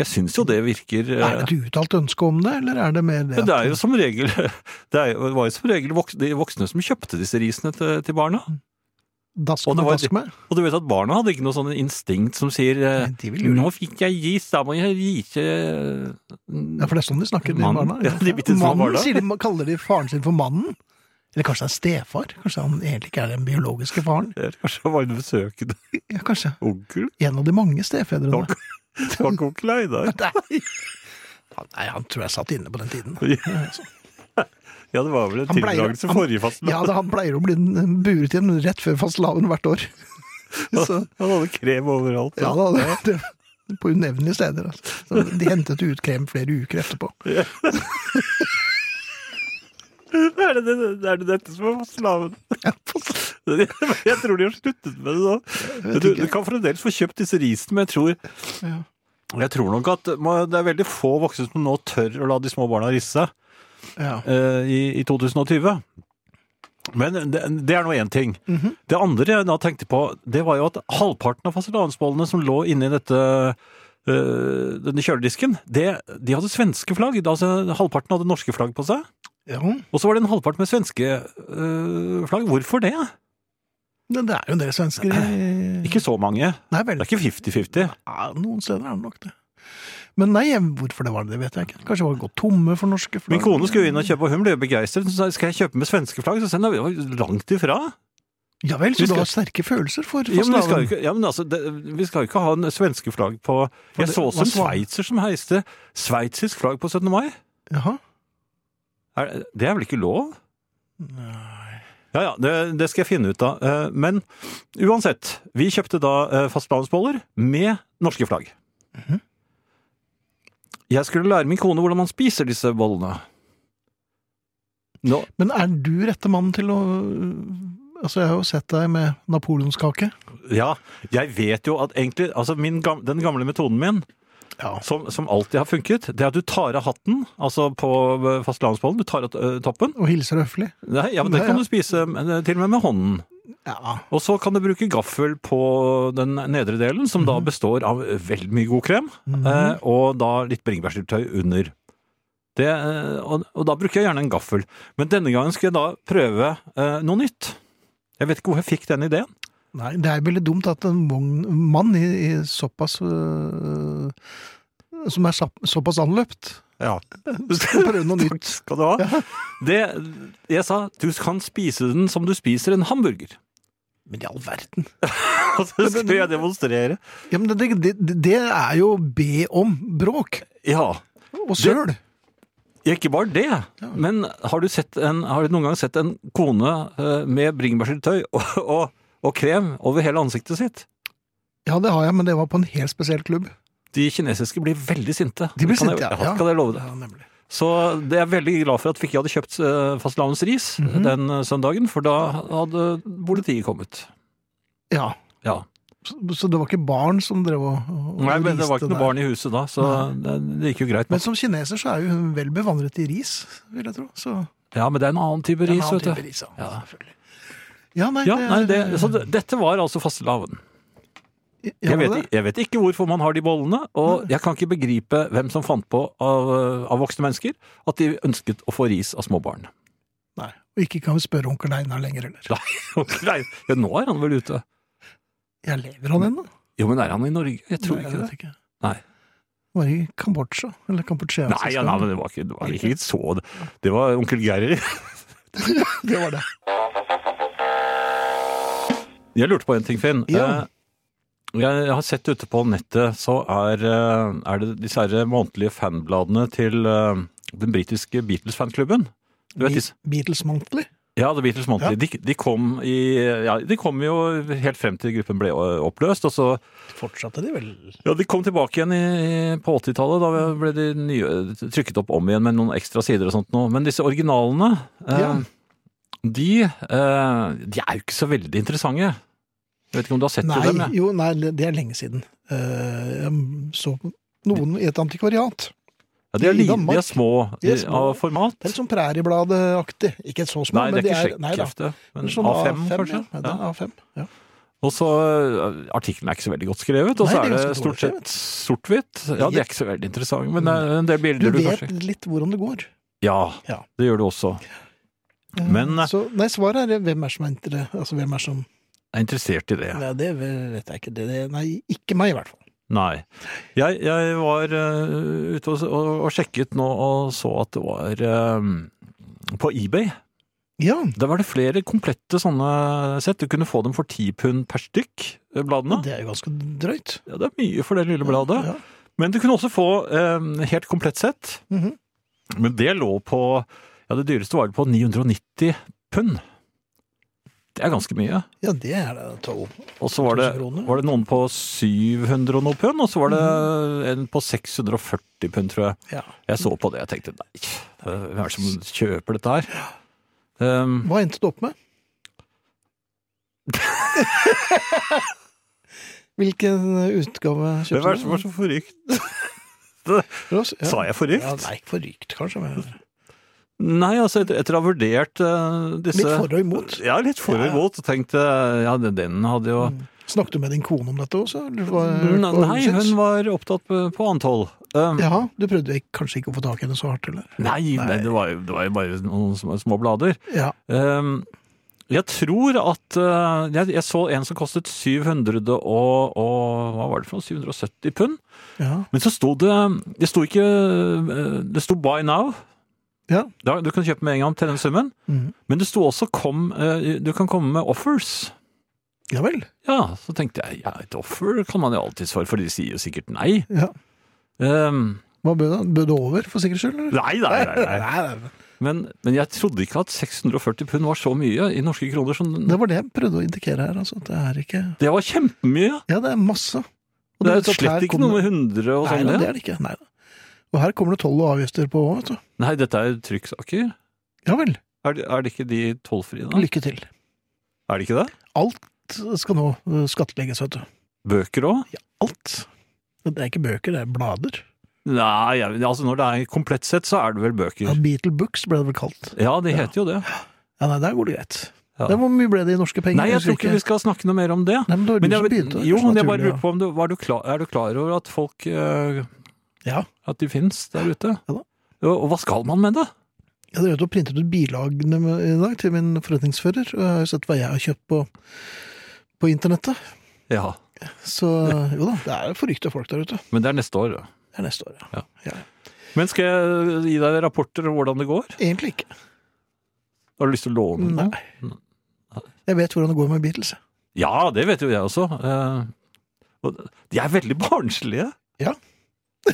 Jeg syns jo det virker eh, Er det et uttalt ønske om det, eller er det mer det? men det er jo som regel Det er, jo- det var jo som regel vok- de voksne som kjøpte disse risene til, til barna. Dask Og det med, var- dask med. Og du vet at barna hadde ikke noe sånn instinkt som sier eh, Men de vil jo- Nå fikk jeg ris, da må jeg rise Ja, for det er sånn de snakker, de Mannen. barna. Ja, de bitte små mannen, barna. sier de, kaller de faren sin for mannen. Eller kanskje det er stefar? Kanskje han egentlig ikke er den biologiske faren? Eller Kanskje det var en besøkende Ja, kanskje onkel? en av de mange stefedrene. Takk. Det var ikke onkel Einar. Nei. Han- Nei, han tror jeg satt inne på den tiden. Ja, det var vel en Han pleier- tildragelse han- forrige fastelavn. Ja, da, han pleier å bli buret igjen rett før fastelavn hvert år. Så, Han hadde krem overalt. ja da, det, det, på unevnelige steder. Altså. Så de hentet ut krem flere uker etterpå. Er, det, det- er det dette som er fastelavn? Ja, fast- Jeg jeg tror de har sluttet med det nå. Du, du kan fremdeles få kjøpt disse risene, men jeg tror Ja. jeg tror nok at ma- det er veldig få voksne som nå tør å la de små barna risse seg ja. eh, i, i 2020. Men det, det er nå én ting. Mhm. Det andre jeg da tenkte på, det var jo at halvparten av fastelavnsbollene som lå inni dette eh, denne kjøledisken, det, de hadde svenske flagg. Altså, halvparten hadde norske flagg på seg. ja. Og så var det en halvpart med svenske øh, flagg. Hvorfor det? Men det er jo en del svensker i Ikke så mange. Det Nei vel. er ikke 50-50. Ja, noen steder er det nok det. Men nei, jeg- hvorfor det var det, det vet jeg ikke. Kanskje det var gått tomme for norske flagg. Min kone skulle inn og kjøpe, og hun ble begeistret. Hun sa skal jeg kjøpe med svenske flagg? Så sa jeg, «Nei, det var langt ifra. Ja vel, så Vi du skal- har sterke følelser for Ja, men, vi skal jo fastelavn. ikke, ja, men altså, det, vi skal jo ikke ha en svenske flagg på Jeg det- så også liksom- hva en svar- sveitser som heiste sveitsisk flagg på 17. mai. Jaha. Er, det er vel ikke lov? Nei. Ja, ja, det, det skal jeg finne ut av. Eh, Men uansett, vi kjøpte da eh, fastlandsboller med norske flagg. Mhm. Jeg skulle lære min kone hvordan man spiser disse bollene. Nå, Men er du rette mannen til å Altså, jeg har jo sett deg med napoleonskake. ja, jeg vet jo at egentlig altså min, gam- Den gamle metoden min, Ja. som, som alltid har funket, det er at du tar av hatten, altså på eh, fastlandsbollen, du tar av eh, toppen. Og hilser høflig. Nei, ja, men den Nei, kan ja. du spise eh, til og med med hånden. Ja. Og så kan du bruke gaffel på den nedre delen, som da består av veldig mye god krem, eh, og da litt bringebærsyltetøy under. Det, eh, og, og da bruker jeg gjerne en gaffel. Men denne gangen skal jeg da prøve eh, noe nytt. Jeg vet ikke hvor jeg fikk den ideen. Nei, det er veldig dumt at en vogn- mann i, i såpass øh, Som er sapp- såpass anløpt, Ja. skal prøve noe nytt. Skal du ha? Det, jeg sa, du kan spise den som du spiser en hamburger. Men i all verden. Og så skulle jeg demonstrere. Ja, men det, det, det er jo be om bråk Ja, og søl. Ja, Ikke bare det, men har du, sett en, har du noen gang sett en kone eh, med bringebærsyltetøy og, og, og krem over hele ansiktet sitt. Ja, det har jeg, men det var på en helt spesiell klubb. De kinesiske blir veldig sinte. De blir Kan sinte, jeg, ja. Kan jeg love det. Ja, nemlig. Så det er jeg veldig glad for at vi ikke hadde kjøpt eh, fastelavnsris Mhm. den eh, søndagen, for da hadde politiet kommet. Ja. Ja. Så, så det var ikke barn som drev og, og Nei, men det var riste ikke noe der. barn i huset da, så det, det gikk jo greit. Men som kineser så er jo hun vel bevandret i ris, vil jeg tro. Så, Ja, men det er en annen type En ris, annen vet du. type ris, ja. Ja. Selvfølgelig. Ja, nei, Ja, nei, det, så det, dette var altså fastelavn. Ja, Jeg vet, det- ikke- jeg vet ikke hvorfor man har de bollene, og jeg kan ikke begripe hvem som fant på av, eh, av voksne mennesker at de ønsket å få ris av små barn. Nei. Og ikke kan vi spørre onkel Einar lenger heller. Nei, ok, nei. Ja, nå er han vel ute. Ja, lever han ennå? Jo, men er han i Norge? Jeg tror Nei, ikke det. vet ikke. Nei. Var i Kambodsja, eller Kambodsja. Nei, ja, nei, men det var ikke, det var ikke så Det var onkel Geir. det var det. Jeg lurte på en ting, Finn. Ja. Eh, Jeg har sett ute på nettet, så er, eh, er det disse her månedlige fanbladene til eh, den britiske Beatles-fanklubben. Du vet, disse- Be- Beatles Monthly. ja, The Beatles Monthly. De, de, kom i, ja, de kom jo helt frem til gruppen ble eh, oppløst, og så Fortsatte de vel? Ja, de kom tilbake igjen i, i- på 80-tallet. Da ble de nye, trykket opp om igjen med noen ekstra sider og sånt noe. Men disse originalene, eh, Ja. de, eh, de er jo ikke så veldig interessante. Jeg vet ikke om du har sett Nei, dem? jeg. jo, nei, det er lenge siden. Eh, Jeg så noen i et antikvariat. Ja, de, er i li, de Danmark. er små De er eh, små. av format. Det er litt sånn præriebladeaktig. Ikke så små, nei, men det er de ikke er nei da. sjekkhefte. Men Sånn A5, kanskje? Ja. Ja. Ja, A5, ja. Og så eh, Artikkelen er ikke så veldig godt skrevet, og Nei, så det er er det ganske dårlig stort sett sort-hvitt. Ja, de er ikke så veldig interessante, men det er en del Du bilder du, vet kanskje litt hvordan det går. Ja, Ja. det gjør du også. Eh, Men- så, nei, svaret er hvem er som er inter- Altså, hvem er som Jeg er interessert i det. Nei, det vet jeg ikke. Det, det, nei, ikke meg, i hvert fall. Nei. Jeg, jeg var eh, ute og, og, og sjekket nå og så at det var eh, på eBay. Ja. Der var det flere komplette sånne sett. Du kunne få dem for ti pund per stykk, eh, bladene. Det er jo ganske drøyt. Ja, det er mye for det lille bladet. Ja. Men du kunne også få eh, helt komplett sett. Mhm. Men det lå på Ja, det dyreste var det på 990 pund. Det er ganske mye. ja, det er det. Tolv. Og så var det, 1000 kroner. var det noen på 700 og noe pund, og så var Mm. det en på 640 pund, tror jeg. Ja. Jeg så på det og tenkte nei, hvem er det som kjøper dette her? Um, Hva endte du opp med? Hvilken utgave hvem er kjøpte det du? som var så forrykt? Ross? Ja. Sa jeg forrykt? Ja, nei, forrykt kanskje. Men... Nei, altså etter, etter å ha vurdert eh, disse Litt for og imot. Ja, litt for og Ja. imot. og Tenkte ja, den- den hadde jo Snakket du med din kone om dette også? eller hva- hva Nei, syns? hun var opptatt på på annet hold. Um, Jaha, du prøvde ikke- kanskje ikke å få tak i henne så hardt, eller? Nei, nei det, var jo, det var jo bare noen små, små blader. Ja. Um, jeg tror at uh, jeg, jeg så en som kostet 700 og, og Hva var det for noe? 770 pund? ja. Men så sto det Det sto ikke uh, Det sto 'buy now'. Ja. Da, du kan kjøpe med en gang til den summen. Mhm. Men det sto også kom, uh, 'du kan komme med offers'. Ja vel. Ja, så tenkte jeg ja, et offer kan man jo alltid svare, for de sier jo sikkert nei. Ja. Um, Hva bød han? Bød det over, for sikkerhets skyld? eller? nei, nei, nei, nei. Nei, nei, Men, men jeg trodde ikke at 640 pund var så mye i norske kroner. Som, Det var det jeg prøvde å indikere her, altså. at Det er ikke det var kjempemye! Ja, det er masse. Og Det er vet at her slett ikke kommer- noe med 100 og Nei, sånn. da, det det. er det ikke. Nei da. Og her kommer det toll og avgifter på òg, vet du. Nei, dette er trykksaker. Ja vel. Er, det- er det ikke de tollfrie, da? Lykke til. Er det ikke det? Alt skal nå eh, skattlegges, vet du. Bøker òg? Alt. Det er ikke bøker, det er blader. Nei, jeg, altså når det er komplett sett, så er det vel Ja, bøker. Beatle Books ble det vel kalt. Ja, de heter jo det. Ja, nei, der går det greit. Ja. Det, hvor mye ble det i norske penger? Nei, jeg tror husker ikke vi skal snakke noe mer om det. Nei, men det var du Men jeg, som vet- begynte. det er jo, kanskje men jeg bare naturlig, lurer på om du, var du klar, Er du klar over at folk eh, Ja, ja. At de fins der ute? Ja da. Og, og hva skal man med det? Jeg hadde rett og printet ut bilagene med- i dag til min forretningsfører, og jeg har jo sett hva jeg har kjøpt på, på internettet. Ja, Så jo da, det er forrykte folk der ute. Men det er neste år, da. Det er neste år, ja. Men skal jeg gi deg rapporter om hvordan det går? Egentlig ikke. Har du lyst til å låne den? Nei. Jeg vet hvordan det går med Beatles. jeg. Ja, det vet jo jeg også. Eh, og De er veldig barnslige. Ja.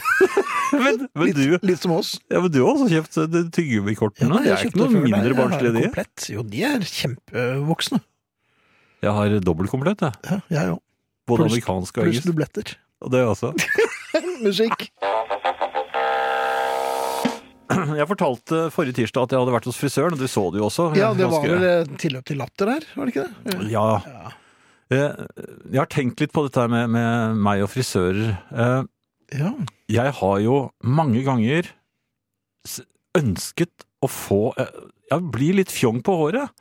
men, men, du, Litt, litt som oss. ja, men du har også kjøpt eh, de tyggegummikortene. Ja, de jeg er kjøpte ikke noe før deg. mindre Jeg har barnslige, de. komplett. Jo, de er kjempevoksne. Jeg har dobbeltkomplett, jeg. Ja, jeg òg. Både Pluss- amerikansk og Pluss engelsk. dubletter. Og det også. Musikk. Jeg fortalte forrige tirsdag at jeg hadde vært hos frisøren, og du så det jo også. Ja, det var Ganske- vel eh, tilløp til latter der, var det ikke det? Ja. Eh, Jeg har tenkt litt på dette her med, med meg og frisører. Eh, Ja. Jeg har jo mange ganger s- ønsket å få eh, Jeg blir litt fjong på håret.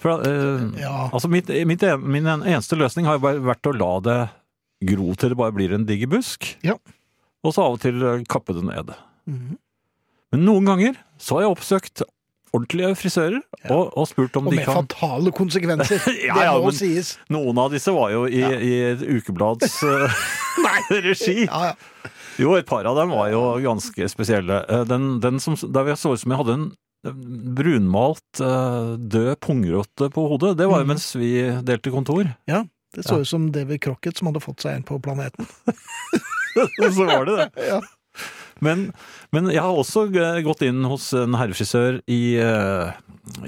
For, eh, Ja. Altså, mitt, mitt en, min en- eneste løsning har jo bare vært å la det gro til det bare blir en diger busk. Ja. Og så av og til eh, kappe det ned. Mhm. Men noen ganger så har jeg oppsøkt ordentlige frisører og, og spurt om Og de med kan fatale konsekvenser. Ja, det ja, må men- sies. Noen av disse var jo i, i et ukeblads eh, regi. Ja, ja. Jo, et par av dem var jo ganske spesielle. Eh, Den, den som, der jeg så ut som jeg hadde en brunmalt, eh, død pungrotte på hodet, det var Mhm. jo mens vi delte kontor. Det så ut som David Crocket som hadde fått seg en på planeten. Så var det det. Ja. Men, men jeg har også eh, gått inn hos en herrefrisør i, eh,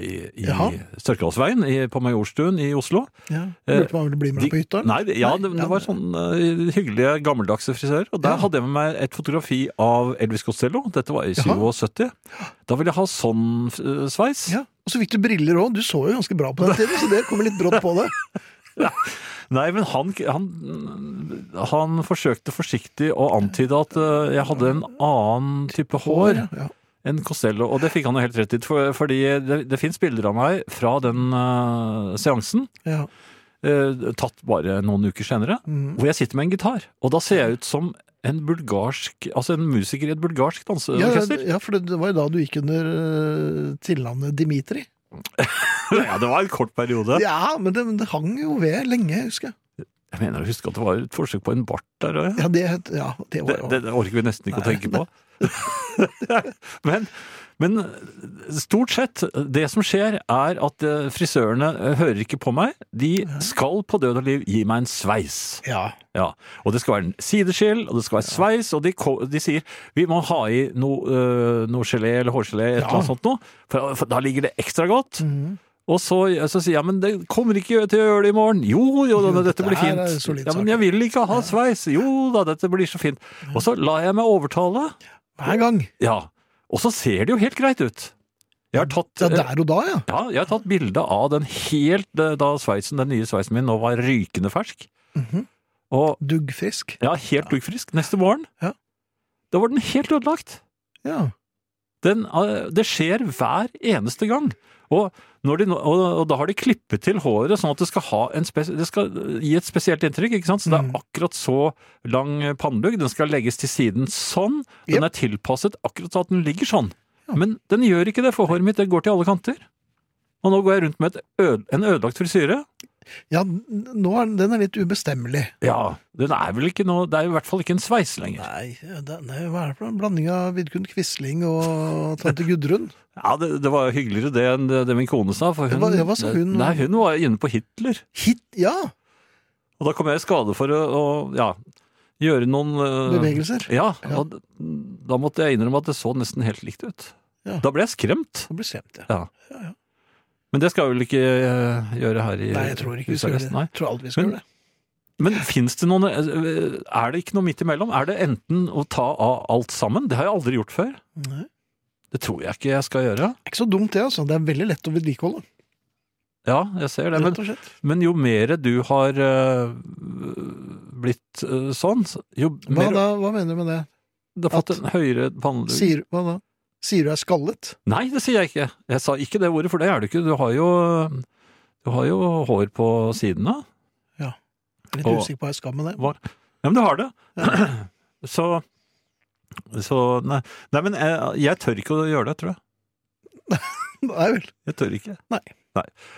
i, i Jaha. Sørkedalsveien i- på Majorstuen i Oslo. Ja. Eh, Lurte på om han ville bli med De- deg på hytta? Nei, det- ja, Nei, det, ja, det var sånn eh, hyggelige, gammeldagse frisører. Og der Ja. hadde jeg med meg et fotografi av Elvis Costello. Dette var i Jaha. 77. Da ville jeg ha sånn eh, sveis. Ja. Og så fikk du briller òg. Du så jo ganske bra på den tiden, så det kommer litt brått på det. Nei, men han, han, han forsøkte forsiktig å antyde at eh, jeg hadde en annen type hår Ja. enn Costello. Og det fikk han jo helt rett i, for, fordi det, det fins bilder av meg fra den eh, seansen. Ja. eh, tatt bare noen uker senere, Mhm. hvor jeg sitter med en gitar. Og da ser jeg ut som en bulgarsk, altså en musiker i et bulgarsk Ja, danseorkester. ja, for det, det var jo da du gikk under eh, tilnavnet Dimitri. Ja, det var en kort periode. Ja, men det, men det hang jo ved lenge, husker jeg. Jeg mener å huske at det var et forsøk på en bart der. og jeg- Ja, det, ja, det var Det, jo det, det orker vi nesten ikke å Nei. tenke på. men, men stort sett, det som skjer er at eh, frisørene eh, hører ikke på meg. De skal på død og liv gi meg en sveis. Ja. Ja, og det skal være en sideskill, og det skal være sveis, og de, ko- de sier vi må ha i noe, øh, noe gelé eller hårgelé, et Ja. Mhm. eller annet sånt noe, for, for da ligger det ekstra godt. Og så, så sier jeg, men det kommer ikke til å gjøre det i morgen. Jo, jo, da, Jo, dette blir dette her fint. er solid Ja, men sak. jeg vil ikke ha sveis. Jo da, dette blir så fint. Og så lar jeg meg overtale. Hver gang. Ja, og så ser det jo helt greit ut. Jeg har tatt... øh, Ja, der og da, ja. Ja, jeg har tatt bilde av den helt eh, da sveisen, den nye sveisen min nå var rykende fersk. Mhm. Og Duggfrisk. ja, helt duggfrisk. Neste morgen, Ja. da var den helt ødelagt. Ja. Den, eh, det skjer hver eneste gang. Og, når de, nå- og, og da har de klippet til håret sånn at det skal, ha en spes, det skal gi et spesielt inntrykk. ikke sant? Så det er akkurat så lang pannelugg. Den skal legges til siden sånn. Den Jep. er tilpasset akkurat så at den ligger sånn. Men den gjør ikke det, for håret mitt det går til alle kanter. Og nå går jeg rundt med et øde, en ødelagt frisyre. ja n- nå er den- den er litt ubestemmelig. Ja, den er vel ikke noe Det er i hvert fall ikke en sveis lenger. Nei, det, nei, hva er det for en blanding av Vidkun Quisling og tante Gudrun? Ja, det, det var hyggeligere det enn det, det min kone sa. For hun, Hva- ja, hva sa hun? Nei, hun var inne på Hitler. Hit, ja! Og da kom jeg i skade for å, å ja, gjøre noen eh, Bevegelser. Ja, Ja. og d- da måtte jeg innrømme at det så nesten helt likt ut. Ja. Da ble jeg skremt. Han ble skremt, ja. Ja. Men det skal jeg vel ikke eh, gjøre her i Nei, jeg tror ikke vi skal gjøre det. Husarresten, nei. Jeg tror aldri vi skal Men- gjøre det. Men fins det noen eh, Er det ikke noe midt imellom? Er det enten å ta av alt sammen? Det har jeg aldri gjort før. Nei. Det tror jeg ikke jeg skal gjøre. Det er ikke så dumt det, altså. Det er veldig lett å vedlikeholde. Ja, jeg ser det. Men Rett og slett. Men jo mer du har eh, blitt eh, sånn, jo Hva, mer da, hva mener du med det? Du har fått en høyere pannelugg. Sier, hva da? Sier du jeg er skallet? Nei, det sier jeg ikke. Jeg sa ikke det ordet, for det er du ikke. Du har jo, du har jo hår på sidene. Litt Og- usikker på hva jeg skal med det. Ja, men du har det. Så så nei. nei, men jeg, jeg tør ikke å gjøre det, tror jeg. Nei vel. Jeg tør ikke. Nei.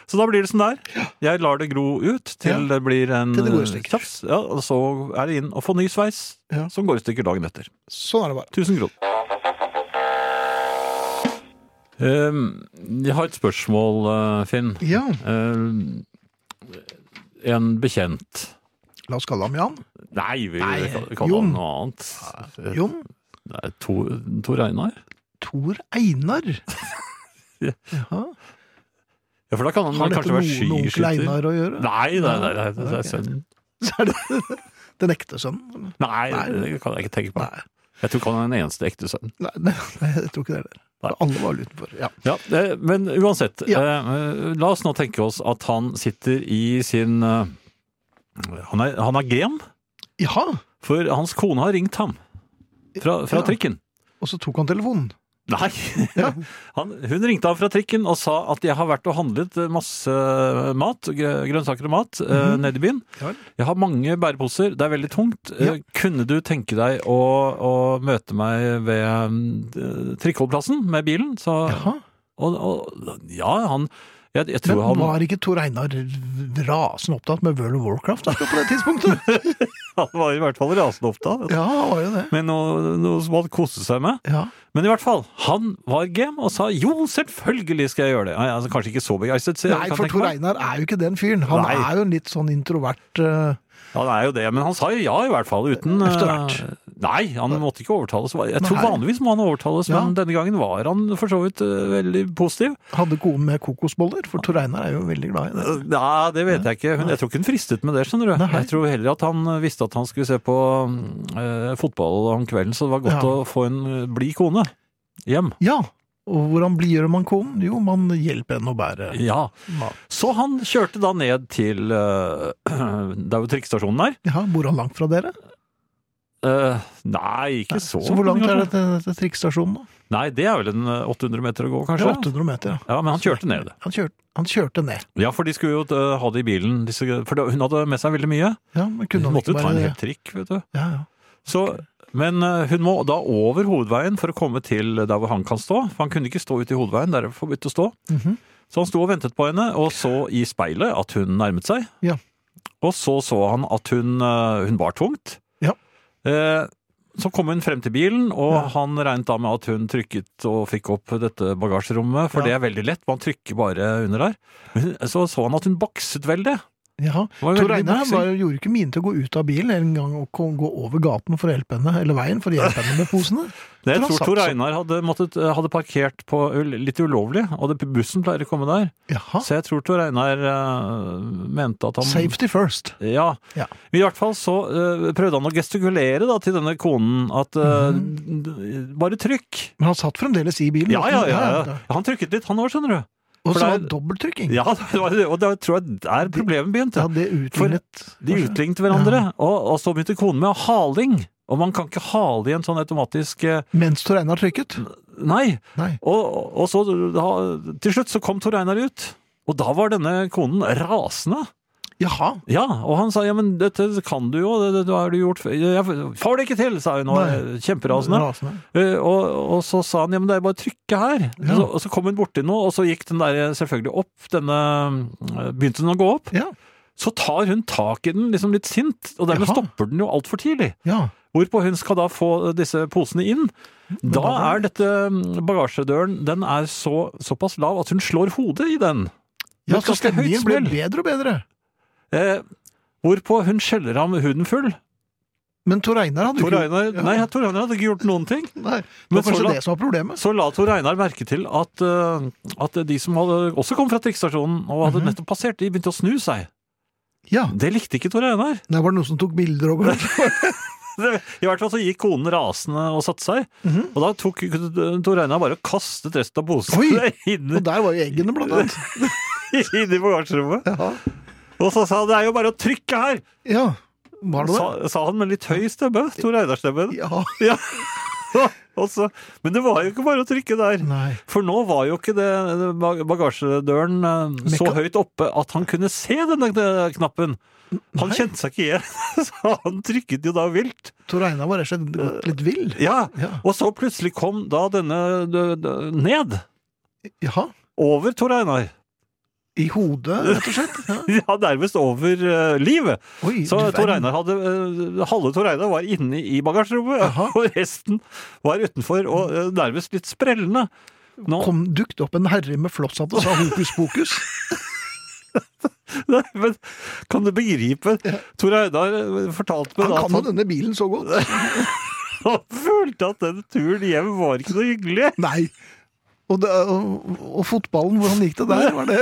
Så da blir det sånn der. Jeg lar det gro ut til Ja. det blir en Til det går i eh, stykker. tjafs. Ja, og så er det inn og få ny sveis, Ja. som går i stykker dagen etter. Sånn er det bare. 1000 kroner. Ehm, Jeg har et spørsmål, eh, Finn. Ja, Ehm, En bekjent la oss kalle ham Jan. Nei, vi Nei, kan kaller Jon. Ah, han noe annet. Jon Nei, Tor, Tor Einar? Tor Einar. Ja. Jaha. Ja, for da kan han Har kanskje dette noe være med onkel skiskytter. Einar å gjøre? Nei, nei, nei, nei, det er sønnen. Så er det den ekte sønnen? Nei, Nei. det kan jeg ikke tenke på. Nei. Jeg tror ikke han er den eneste ekte sønnen. Nei, nei, nei, jeg tror ikke det er det. Nei. Alle var utenfor. Ja. Ja, eh, Men uansett, eh, la oss nå tenke oss at han sitter i sin eh, Han er, han er gren, Jaha! for hans kone har ringt ham fra, fra Ja. trikken. Og så tok han telefonen. Nei! Han, hun ringte ham fra trikken og sa at jeg har vært og handlet masse mat, grø- grønnsaker og mat, eh, Mhm. nede i byen. Ja vel. Jeg har mange bæreposer, det er veldig tungt. Ja. Eh, Kunne du tenke deg å, å møte meg ved mm, eh, trikkeholdeplassen med bilen? Så, Jaha. og, og, ja, han Jeg, jeg tror Men han var ikke Tor Einar rasende opptatt med World of Warcraft akkurat på det tidspunktet? Han var i hvert fall rasende opptatt. Ja, han var jo det. Med noe, noe som han koste seg med. Ja. Men i hvert fall, han var game og sa jo, selvfølgelig skal jeg gjøre det. Ja, Altså, kanskje ikke så begeistret. så jeg Nei, kan for tenke Tor meg. Einar er jo ikke den fyren. Han Nei. er jo en litt sånn introvert eh, Ja, det er jo det, men han sa jo ja i hvert fall, uten Efter hvert. eh, Nei, han måtte ikke overtales. Jeg tror Nei. vanligvis må han overtales, Ja. men denne gangen var han for så vidt eh, veldig positiv. Hadde konen med kokosboller, for Tor Einar er jo veldig glad i det. Ja, det vet jeg ikke. Hun, jeg tror ikke hun fristet med det, skjønner du. Nei. Jeg tror heller at han eh, visste at han skulle se på eh, fotball om kvelden, så det var godt Ja. å få en eh, blid kone hjem. Ja, og hvordan blir man konen? Jo, man hjelper henne å bære Ja. mat. Så han kjørte da ned til eh, Det er jo trikkestasjonen der. Ja, bor han langt fra dere? Eh, nei, ikke så Så hvor langt er det til, til trikkstasjonen da? Nei, det er vel en eh, 800 meter å gå, Det er kanskje? 800 meter, ja. Ja, men han kjørte ned. Han kjørte, han kjørte ned. Ja, for de skulle jo eh, ha det i bilen, disse, for det- hun hadde med seg veldig mye. Ja, men Hun kunne han måtte jo ikke ta bare en det? hel trikk, vet du. Ja, ja. Så, men eh, hun må da over hovedveien for å komme til der hvor han kan stå. For han kunne ikke stå ute i hovedveien, der er det forbudt å stå. Mhm. Så han sto og ventet på henne, og så i speilet at hun nærmet seg. Ja. Og så så han at hun, eh, hun bar tungt. Ja. Eh, så kom hun frem til bilen, og Ja. han regnet da med at hun trykket og fikk opp dette bagasjerommet, for Ja. det er veldig lett, man trykker bare under der. Men så så han at hun bakset veldig. Jaha. var jo Tor veldig Einar boksing. var, gjorde ikke mine til å gå ut av bilen en gang og kom- gå over gaten for å hjelpe henne, eller veien for å hjelpe henne med posene. Det For jeg han tror satt Tor sånn. Einar hadde, måttet, eh, hadde parkert på ul- litt ulovlig, og det, bussen pleier å komme der. Jaha. Så jeg tror Tor Einar eh, mente at han Safety first. Ja. Ja. I hvert fall så eh, prøvde han å gestikulere da, til denne konen at eh, Mhm. d- Bare trykk! Men han satt fremdeles i bilen. Ja, ja, ja, ja. da. Han trykket litt, han òg, skjønner du. Og For det så er- var det dobbeltrykking. Ja, det var, det, og da tror jeg der problemet begynte. Ja, det utlignet De kanskje. utlignet hverandre, og, og så begynte konen med haling. Og man kan ikke hale i en sånn automatisk eh, Mens Tor Einar trykket? Nei! Nei. Og, og så da, til slutt så kom Tor Einar ut, og da var denne konen rasende. Jaha. Ja, og han sa ja, men dette kan du jo, det, det, det har du gjort før. Jeg får det ikke til, sa hun, og Nei. kjemperasende. Eh, Og, og så sa han ja, men det er bare å trykke her. Ja. Så, og så kom hun borti noe, og så gikk den der selvfølgelig opp, denne eh, Begynte den å gå opp? Ja. Så tar hun tak i den, liksom litt sint, og dermed Jaha. stopper den jo altfor tidlig. ja. Hvorpå hun skal da få disse posene inn. Da da- er dette mm, bagasjedøren den er så, såpass lav at hun slår hodet i den. Med Ja, et så ganske høyt stemningen ble smell. bedre og bedre. Eh, hvorpå hun skjeller ham huden full. Men Tor Einar hadde Tor ikke- Einar, Ja. nei, Tor Einar hadde ikke gjort noen ting. Nei, det Men var så kanskje la- det som var problemet. Så la Tor Einar merke til at, eh, at de som hadde, også kom fra trikkestasjonen og Mhm. hadde nettopp passert, de begynte å snu seg. Ja, Det likte ikke Tor Einar. Der var det noen som tok bilder og Det- I hvert fall så gikk konen rasende og satte seg. Mhm. Og da tok eh, Tor Einar bare og kastet resten av posene Oi! inn, Og der var jo eggene, blant annet. inn i bagasjerommet. Ja. Og så sa han det er jo bare å trykke her, ja. Var det det? sa, sa han med litt høy stemme. Tor Einar-stemmen. Ja. Ja. Og så- Men det var jo ikke bare å trykke der. Nei. For nå var jo ikke det bag- bagasjedøren eh, så Mekka- høyt oppe at han kunne se denne kn- knappen. Han Nei. kjente seg ikke igjen, så han trykket jo da vilt. Tor Einar var rett og slett gått litt vill. Ja, Ja. Og så plutselig kom da denne d- d- ned. Jaha. Over Tor Einar. I hodet, rett og slett. Ja. Ja, nærmest over eh, livet. Oi, Så du Tor verden. Einar hadde, eh, halve Tor Einar var inne i bagasjerommet, Jaha. og resten var utenfor og eh, nærmest litt sprellende. Nå, Kom dukt opp en herre med flosshatt og sa hokus pokus. Nei, men kan du begripe? Tor Einar eh, fortalte meg Han da kan jo at han, denne bilen så godt. han følte at den turen hjem var ikke noe hyggelig. Nei. Og, det, og, og fotballen, hvordan gikk det der? Var det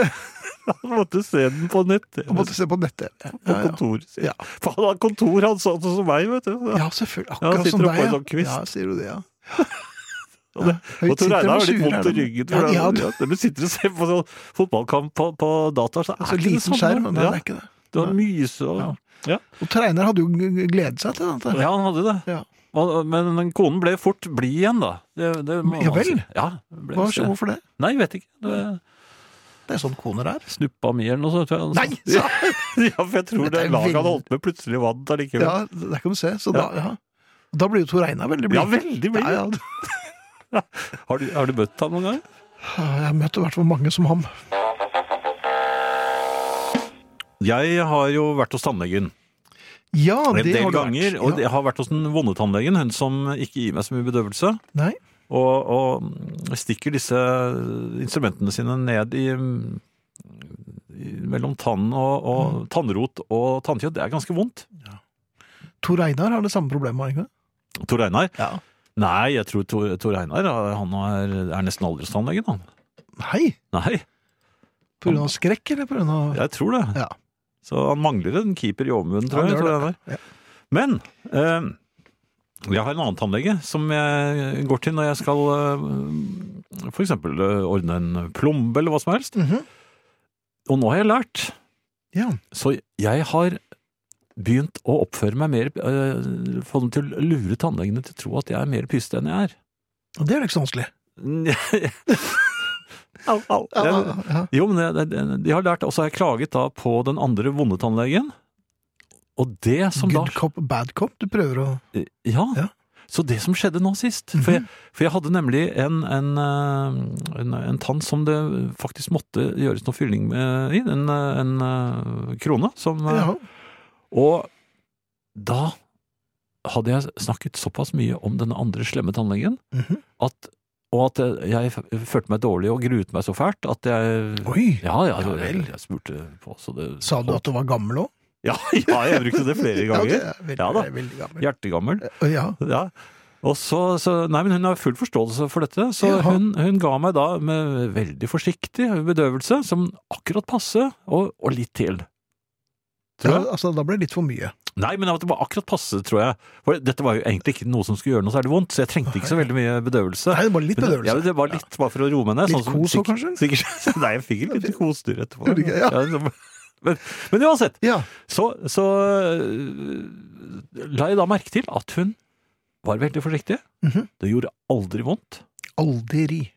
Han måtte se den på nett. Jeg måtte se på nett-TV. På Ja, ja. kontor. Ja. For han har kontor, han sånn som meg, vet du. ja, selvfølgelig. Ja, han Akkurat sitter som oppe på deg. en sånn kvist. Ja, sier du det, ja. Og det- Høyt Og Tor sitter Einar de har litt sure, vondt er i de. ryggen. Ja, For de har han, det. ja, når du sitter og ser på sånn fotballkamp på, på data, så er Altså, det sånn, ikke det liten skjerm, samme. men det Ja, er ikke det. du har myse og Og Treiner hadde jo g- gledet seg til dette. Ja, han hadde det. Ja. Og- Men den konen ble fort blid igjen, da. Det, det må Ja man si. vel? Ja, ble Hva, det. hvorfor det? Nei, jeg vet ikke. Det Det er sånn koner er. snuppa mi eller noe sånt. tror jeg. Nei! Så, Ja, ja, for jeg tror Dette det er laget han veldig- holdt med, plutselig vant allikevel. ja, Ja, der kan du se. Så da, ja. da blir jo Tor Einar veldig blid. ja veldig blid. Ja, ja. Har, du- har du møtt ham noen gang? Ah, Jeg har møtt i hvert fall mange som ham. Jeg har jo vært hos tannlegen. Ja, det en del har du ganger. vært. Og Ja. jeg har vært hos den vonde tannlegen, hun som ikke gir meg så mye bedøvelse. Nei, Og, og stikker disse instrumentene sine ned i, i mellom tann og, og Mm. tannrot og tannkjøtt. Det er ganske vondt. Tor Einar har det samme problemet, har han ikke det? Tor Einar? Ja. Nei, jeg tror Tor, Tor Einar han er, er nesten aldri hos tannlegen, han. Nei, Nei, på grunn av skrekk, eller på grunn av... jeg tror det. Ja. Så han mangler en keeper i overmunnen, tror Ja, jeg. det Tor gjør Einar. det. Men eh, jeg har en annen tannlege som jeg går til når jeg skal eh, for eksempel eh, ordne en plombe eller hva som helst. Mhm. Og nå har jeg lært, Ja. så jeg har begynt å oppføre meg mer, eh, få dem til å lure tannlegene til å tro at jeg er mer pyste enn jeg er. Og det er jo ikke så vanskelig. au, au. Ja, Jeg, ja. jo, men det, det, det- de har lært, og så har jeg klaget da på den andre vonde tannlegen. Og det som da Good cop, bad cop, du prøver å... Ja. Ja. Mhm. Så det som skjedde nå sist For jeg, for jeg hadde nemlig en, en, eh, en, en tann som det faktisk måtte gjøres noe fylling med i. En, eh, en eh, krone. Som, eh, Ja. Og da hadde jeg snakket såpass mye om denne andre slemme tannlegen Mhm. at og at eh, jeg f- følte meg dårlig og gruet meg så fælt at jeg Oi, Ja, ja, Ja vel. jeg, jeg spurte på så det, sa du at du var gammel også? ja, ja, jeg brukte det flere Ja, ganger. det er veldig, Ja da. veldig gammel. Hjertegammel. Ja. Ja. Og så, så, nei, men Hun har full forståelse for dette, så Jaha. hun, hun ga meg da med veldig forsiktig bedøvelse, som akkurat passe, og, og litt til. Tror Ja, jeg. altså, da ble det litt for mye. Nei, men at det var akkurat passe, tror jeg. For dette var jo egentlig ikke noe som skulle gjøre noe særlig vondt, så jeg trengte ikke så veldig mye bedøvelse. Nei, det var Men litt det- bedøvelse. Ja, det var litt bare for å roe meg ned. Litt sånn som kos også, sikkert- sikkert- nei, jeg fikk et lite kosedyr etterpå. Gjorde du ikke? Ja. så- men, men uansett, Ja, så, så øh, la jeg da merke til at hun var veldig forsiktig. Mhm. Det gjorde aldri vondt. aldri.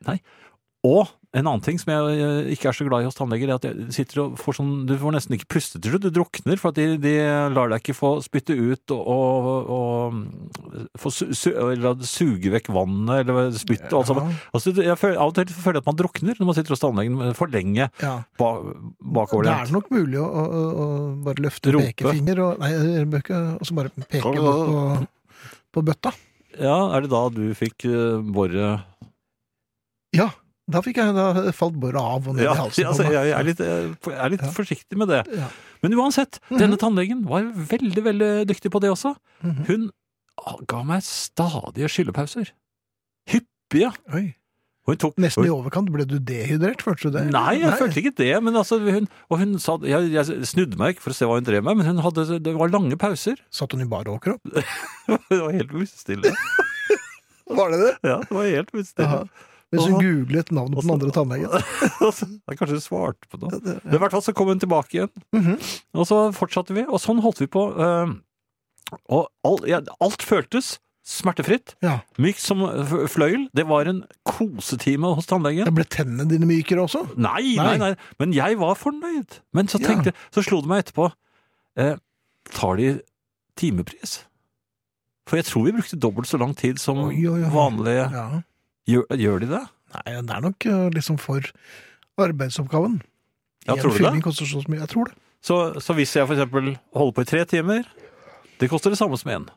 Og en annen ting som jeg øh, ikke er så glad i hos tannleger, er at jeg sitter og får sånn Du får nesten ikke puste til slutt. Du drukner, for at de, de lar deg ikke få spytte ut og, og, og mm, få su, su, eller suge vekk vannet eller spyttet og alt sammen. Altså, jeg føler, av og til føler jeg at man drukner når man sitter hos tannlegen for lenge Ja. ba, Det er bakoverlent. nok mulig å, å, å- å bare løfte Rope. Sånn, pekefinger og Nei, jeg bør ikke Og så bare peke bort på, på bøtta. Ja, er det da du fikk øh, boret Ja, da fikk jeg Da falt boret av og ned Ja, i halsen. altså, på meg. jeg er litt, jeg er litt sånn. Ja. Mhm. forsiktig med det. Ja. Men uansett, denne tannlegen var veldig, veldig dyktig på det også. Mhm. Hun ga meg stadige skyllepauser. Hyppige. Oi. Og hun tok Nesten i overkant. Ble du dehydrert, følte du det? Nei, jeg følte ikke det, men altså hun, Og hun sa jeg, jeg snudde meg ikke for å se hva hun drev med, men hun hadde, det var lange pauser. Satt hun i bar overkropp? Det var helt musestille. Var det det? Ja, det var helt Jaha. musestille. Mens hun Aha. googlet navnet på den andre tannlegen. Jeg Altså, kanskje du svarte på noe. Det- Men I hvert fall så kom hun tilbake igjen. Mhm. Og så fortsatte vi, og sånn holdt vi på. eh, Og alt, ja, alt føltes smertefritt. Ja. Mykt som f- fløyel. Det var en kosetime hos tannlegen. Jeg ble tennene dine mykere også? Nei, nei, nei. Men jeg var fornøyd. Men så Ja. tenkte så slo det meg etterpå. Eh, tar de timepris? For jeg tror vi brukte dobbelt så lang tid som Oi, oi, oi. vanlige. Ja. Gjør, gjør de det? Nei, det er nok eh, liksom for arbeidsoppgaven. Ja, En tror du det? fylling koster så mye. Jeg tror det. Så, så hvis jeg for eksempel holder på i tre timer, det koster det samme som én.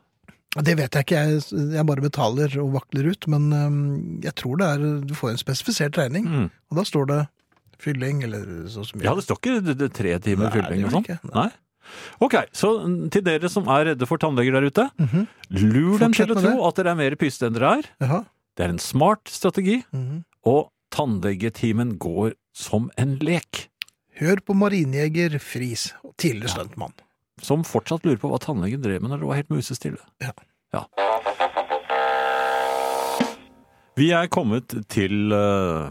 Det vet jeg ikke, jeg, jeg bare betaler og vakler ut, men øhm, jeg tror det er Du får en spesifisert regning, Mm. og da står det fylling eller så så mye. Ja, det står ikke d- d- tre timer Nei, fylling og det gjør sånn. det ikke. Nei. Ok, så mm, til dere som er redde for tannleger der ute, lur dem Fortsett til å med tro at dere er mer pyste enn dere er. Mhm. Jaha. Det er en smart strategi, Mhm. og tannlegetimen går som en lek. Hør på marinjeger Friis, tidligere stuntmann. Som fortsatt lurer på hva tannlegen drev med når det var helt musestille. Ja. Vi er kommet til eh,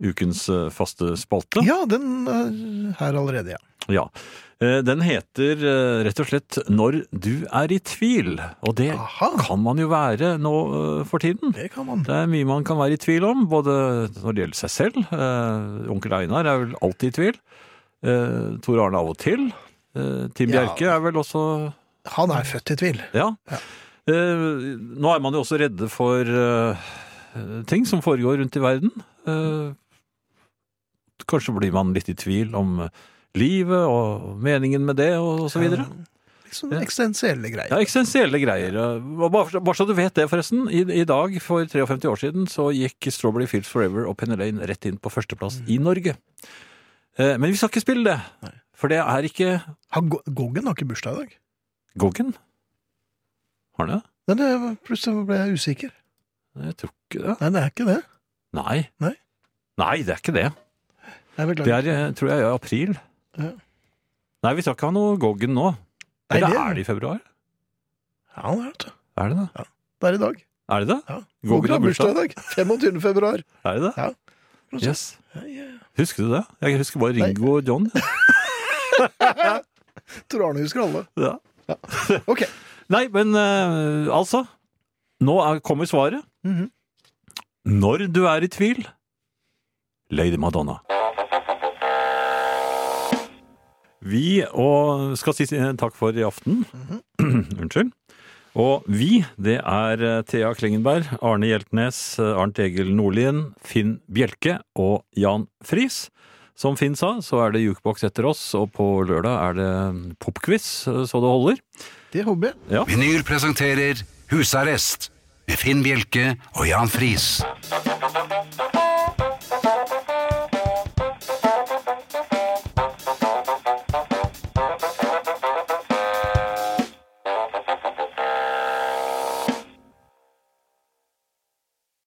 ukens eh, faste spalte. Ja, den er her allerede, ja. Ja. Eh, Den heter eh, rett og slett Når du er i tvil. Og det Aha. kan man jo være nå eh, for tiden. Det kan man. Det er mye man kan være i tvil om, både når det gjelder seg selv. Eh, onkel Einar er vel alltid i tvil. Eh, Tor Arne av og til. Eh, Tim Ja. Bjerke er vel også Han er født i tvil. Ja. Eh, nå er man jo også redde for eh, ting som foregår rundt i verden. Eh, kanskje blir man litt i tvil om eh, livet og meningen med det, og, og så videre. Liksom Ja. eksistensielle Ja, greier. Essensielle greier. Og Bare, så- bare så du vet det, forresten. I, I dag, for 53 år siden, så gikk Strawberry Fields Forever og Penny Lane rett inn på førsteplass i Norge. Eh, men vi skal ikke spille det. For det er ikke Han, Go- Goggen har ikke bursdag i dag. Goggen. Har den det? Men det- plutselig ble jeg usikker. Jeg tror ikke det. Nei, det er ikke det. Nei. Nei? Nei, det er ikke det. Jeg beklager. Det er, eh, tror jeg, i april. Ja. Nei, vi skal ikke ha noe Goggen nå. Nei, Eller det- er det i februar? Ja, han er det. Er det det? Det er i dag. Er det det? Ja. Goggen har bursdag. i dag. 25. februar. Er det det? Ja. Yes. Ja, ja. Husker du det? Jeg husker bare Nei. Ringo og John. Tor Arne husker alle. Ja. Ok. Nei, men eh, altså. Nå er, kommer svaret. Mhm. Når du er i tvil Lady Madonna. Vi og skal si eh, takk for i aften. Unnskyld. Og vi, det er eh, Thea Klingenberg, Arne Hjeltnes, eh, Arnt Egil Nordlien, Finn Bjelke og Jan Friis. Som Finn sa, så er det jukebox etter oss, og på lørdag er det popquiz, eh, så det holder. Det håper jeg. Vinyl presenterer Husarrest med Finn Bjelke og Jan Friis.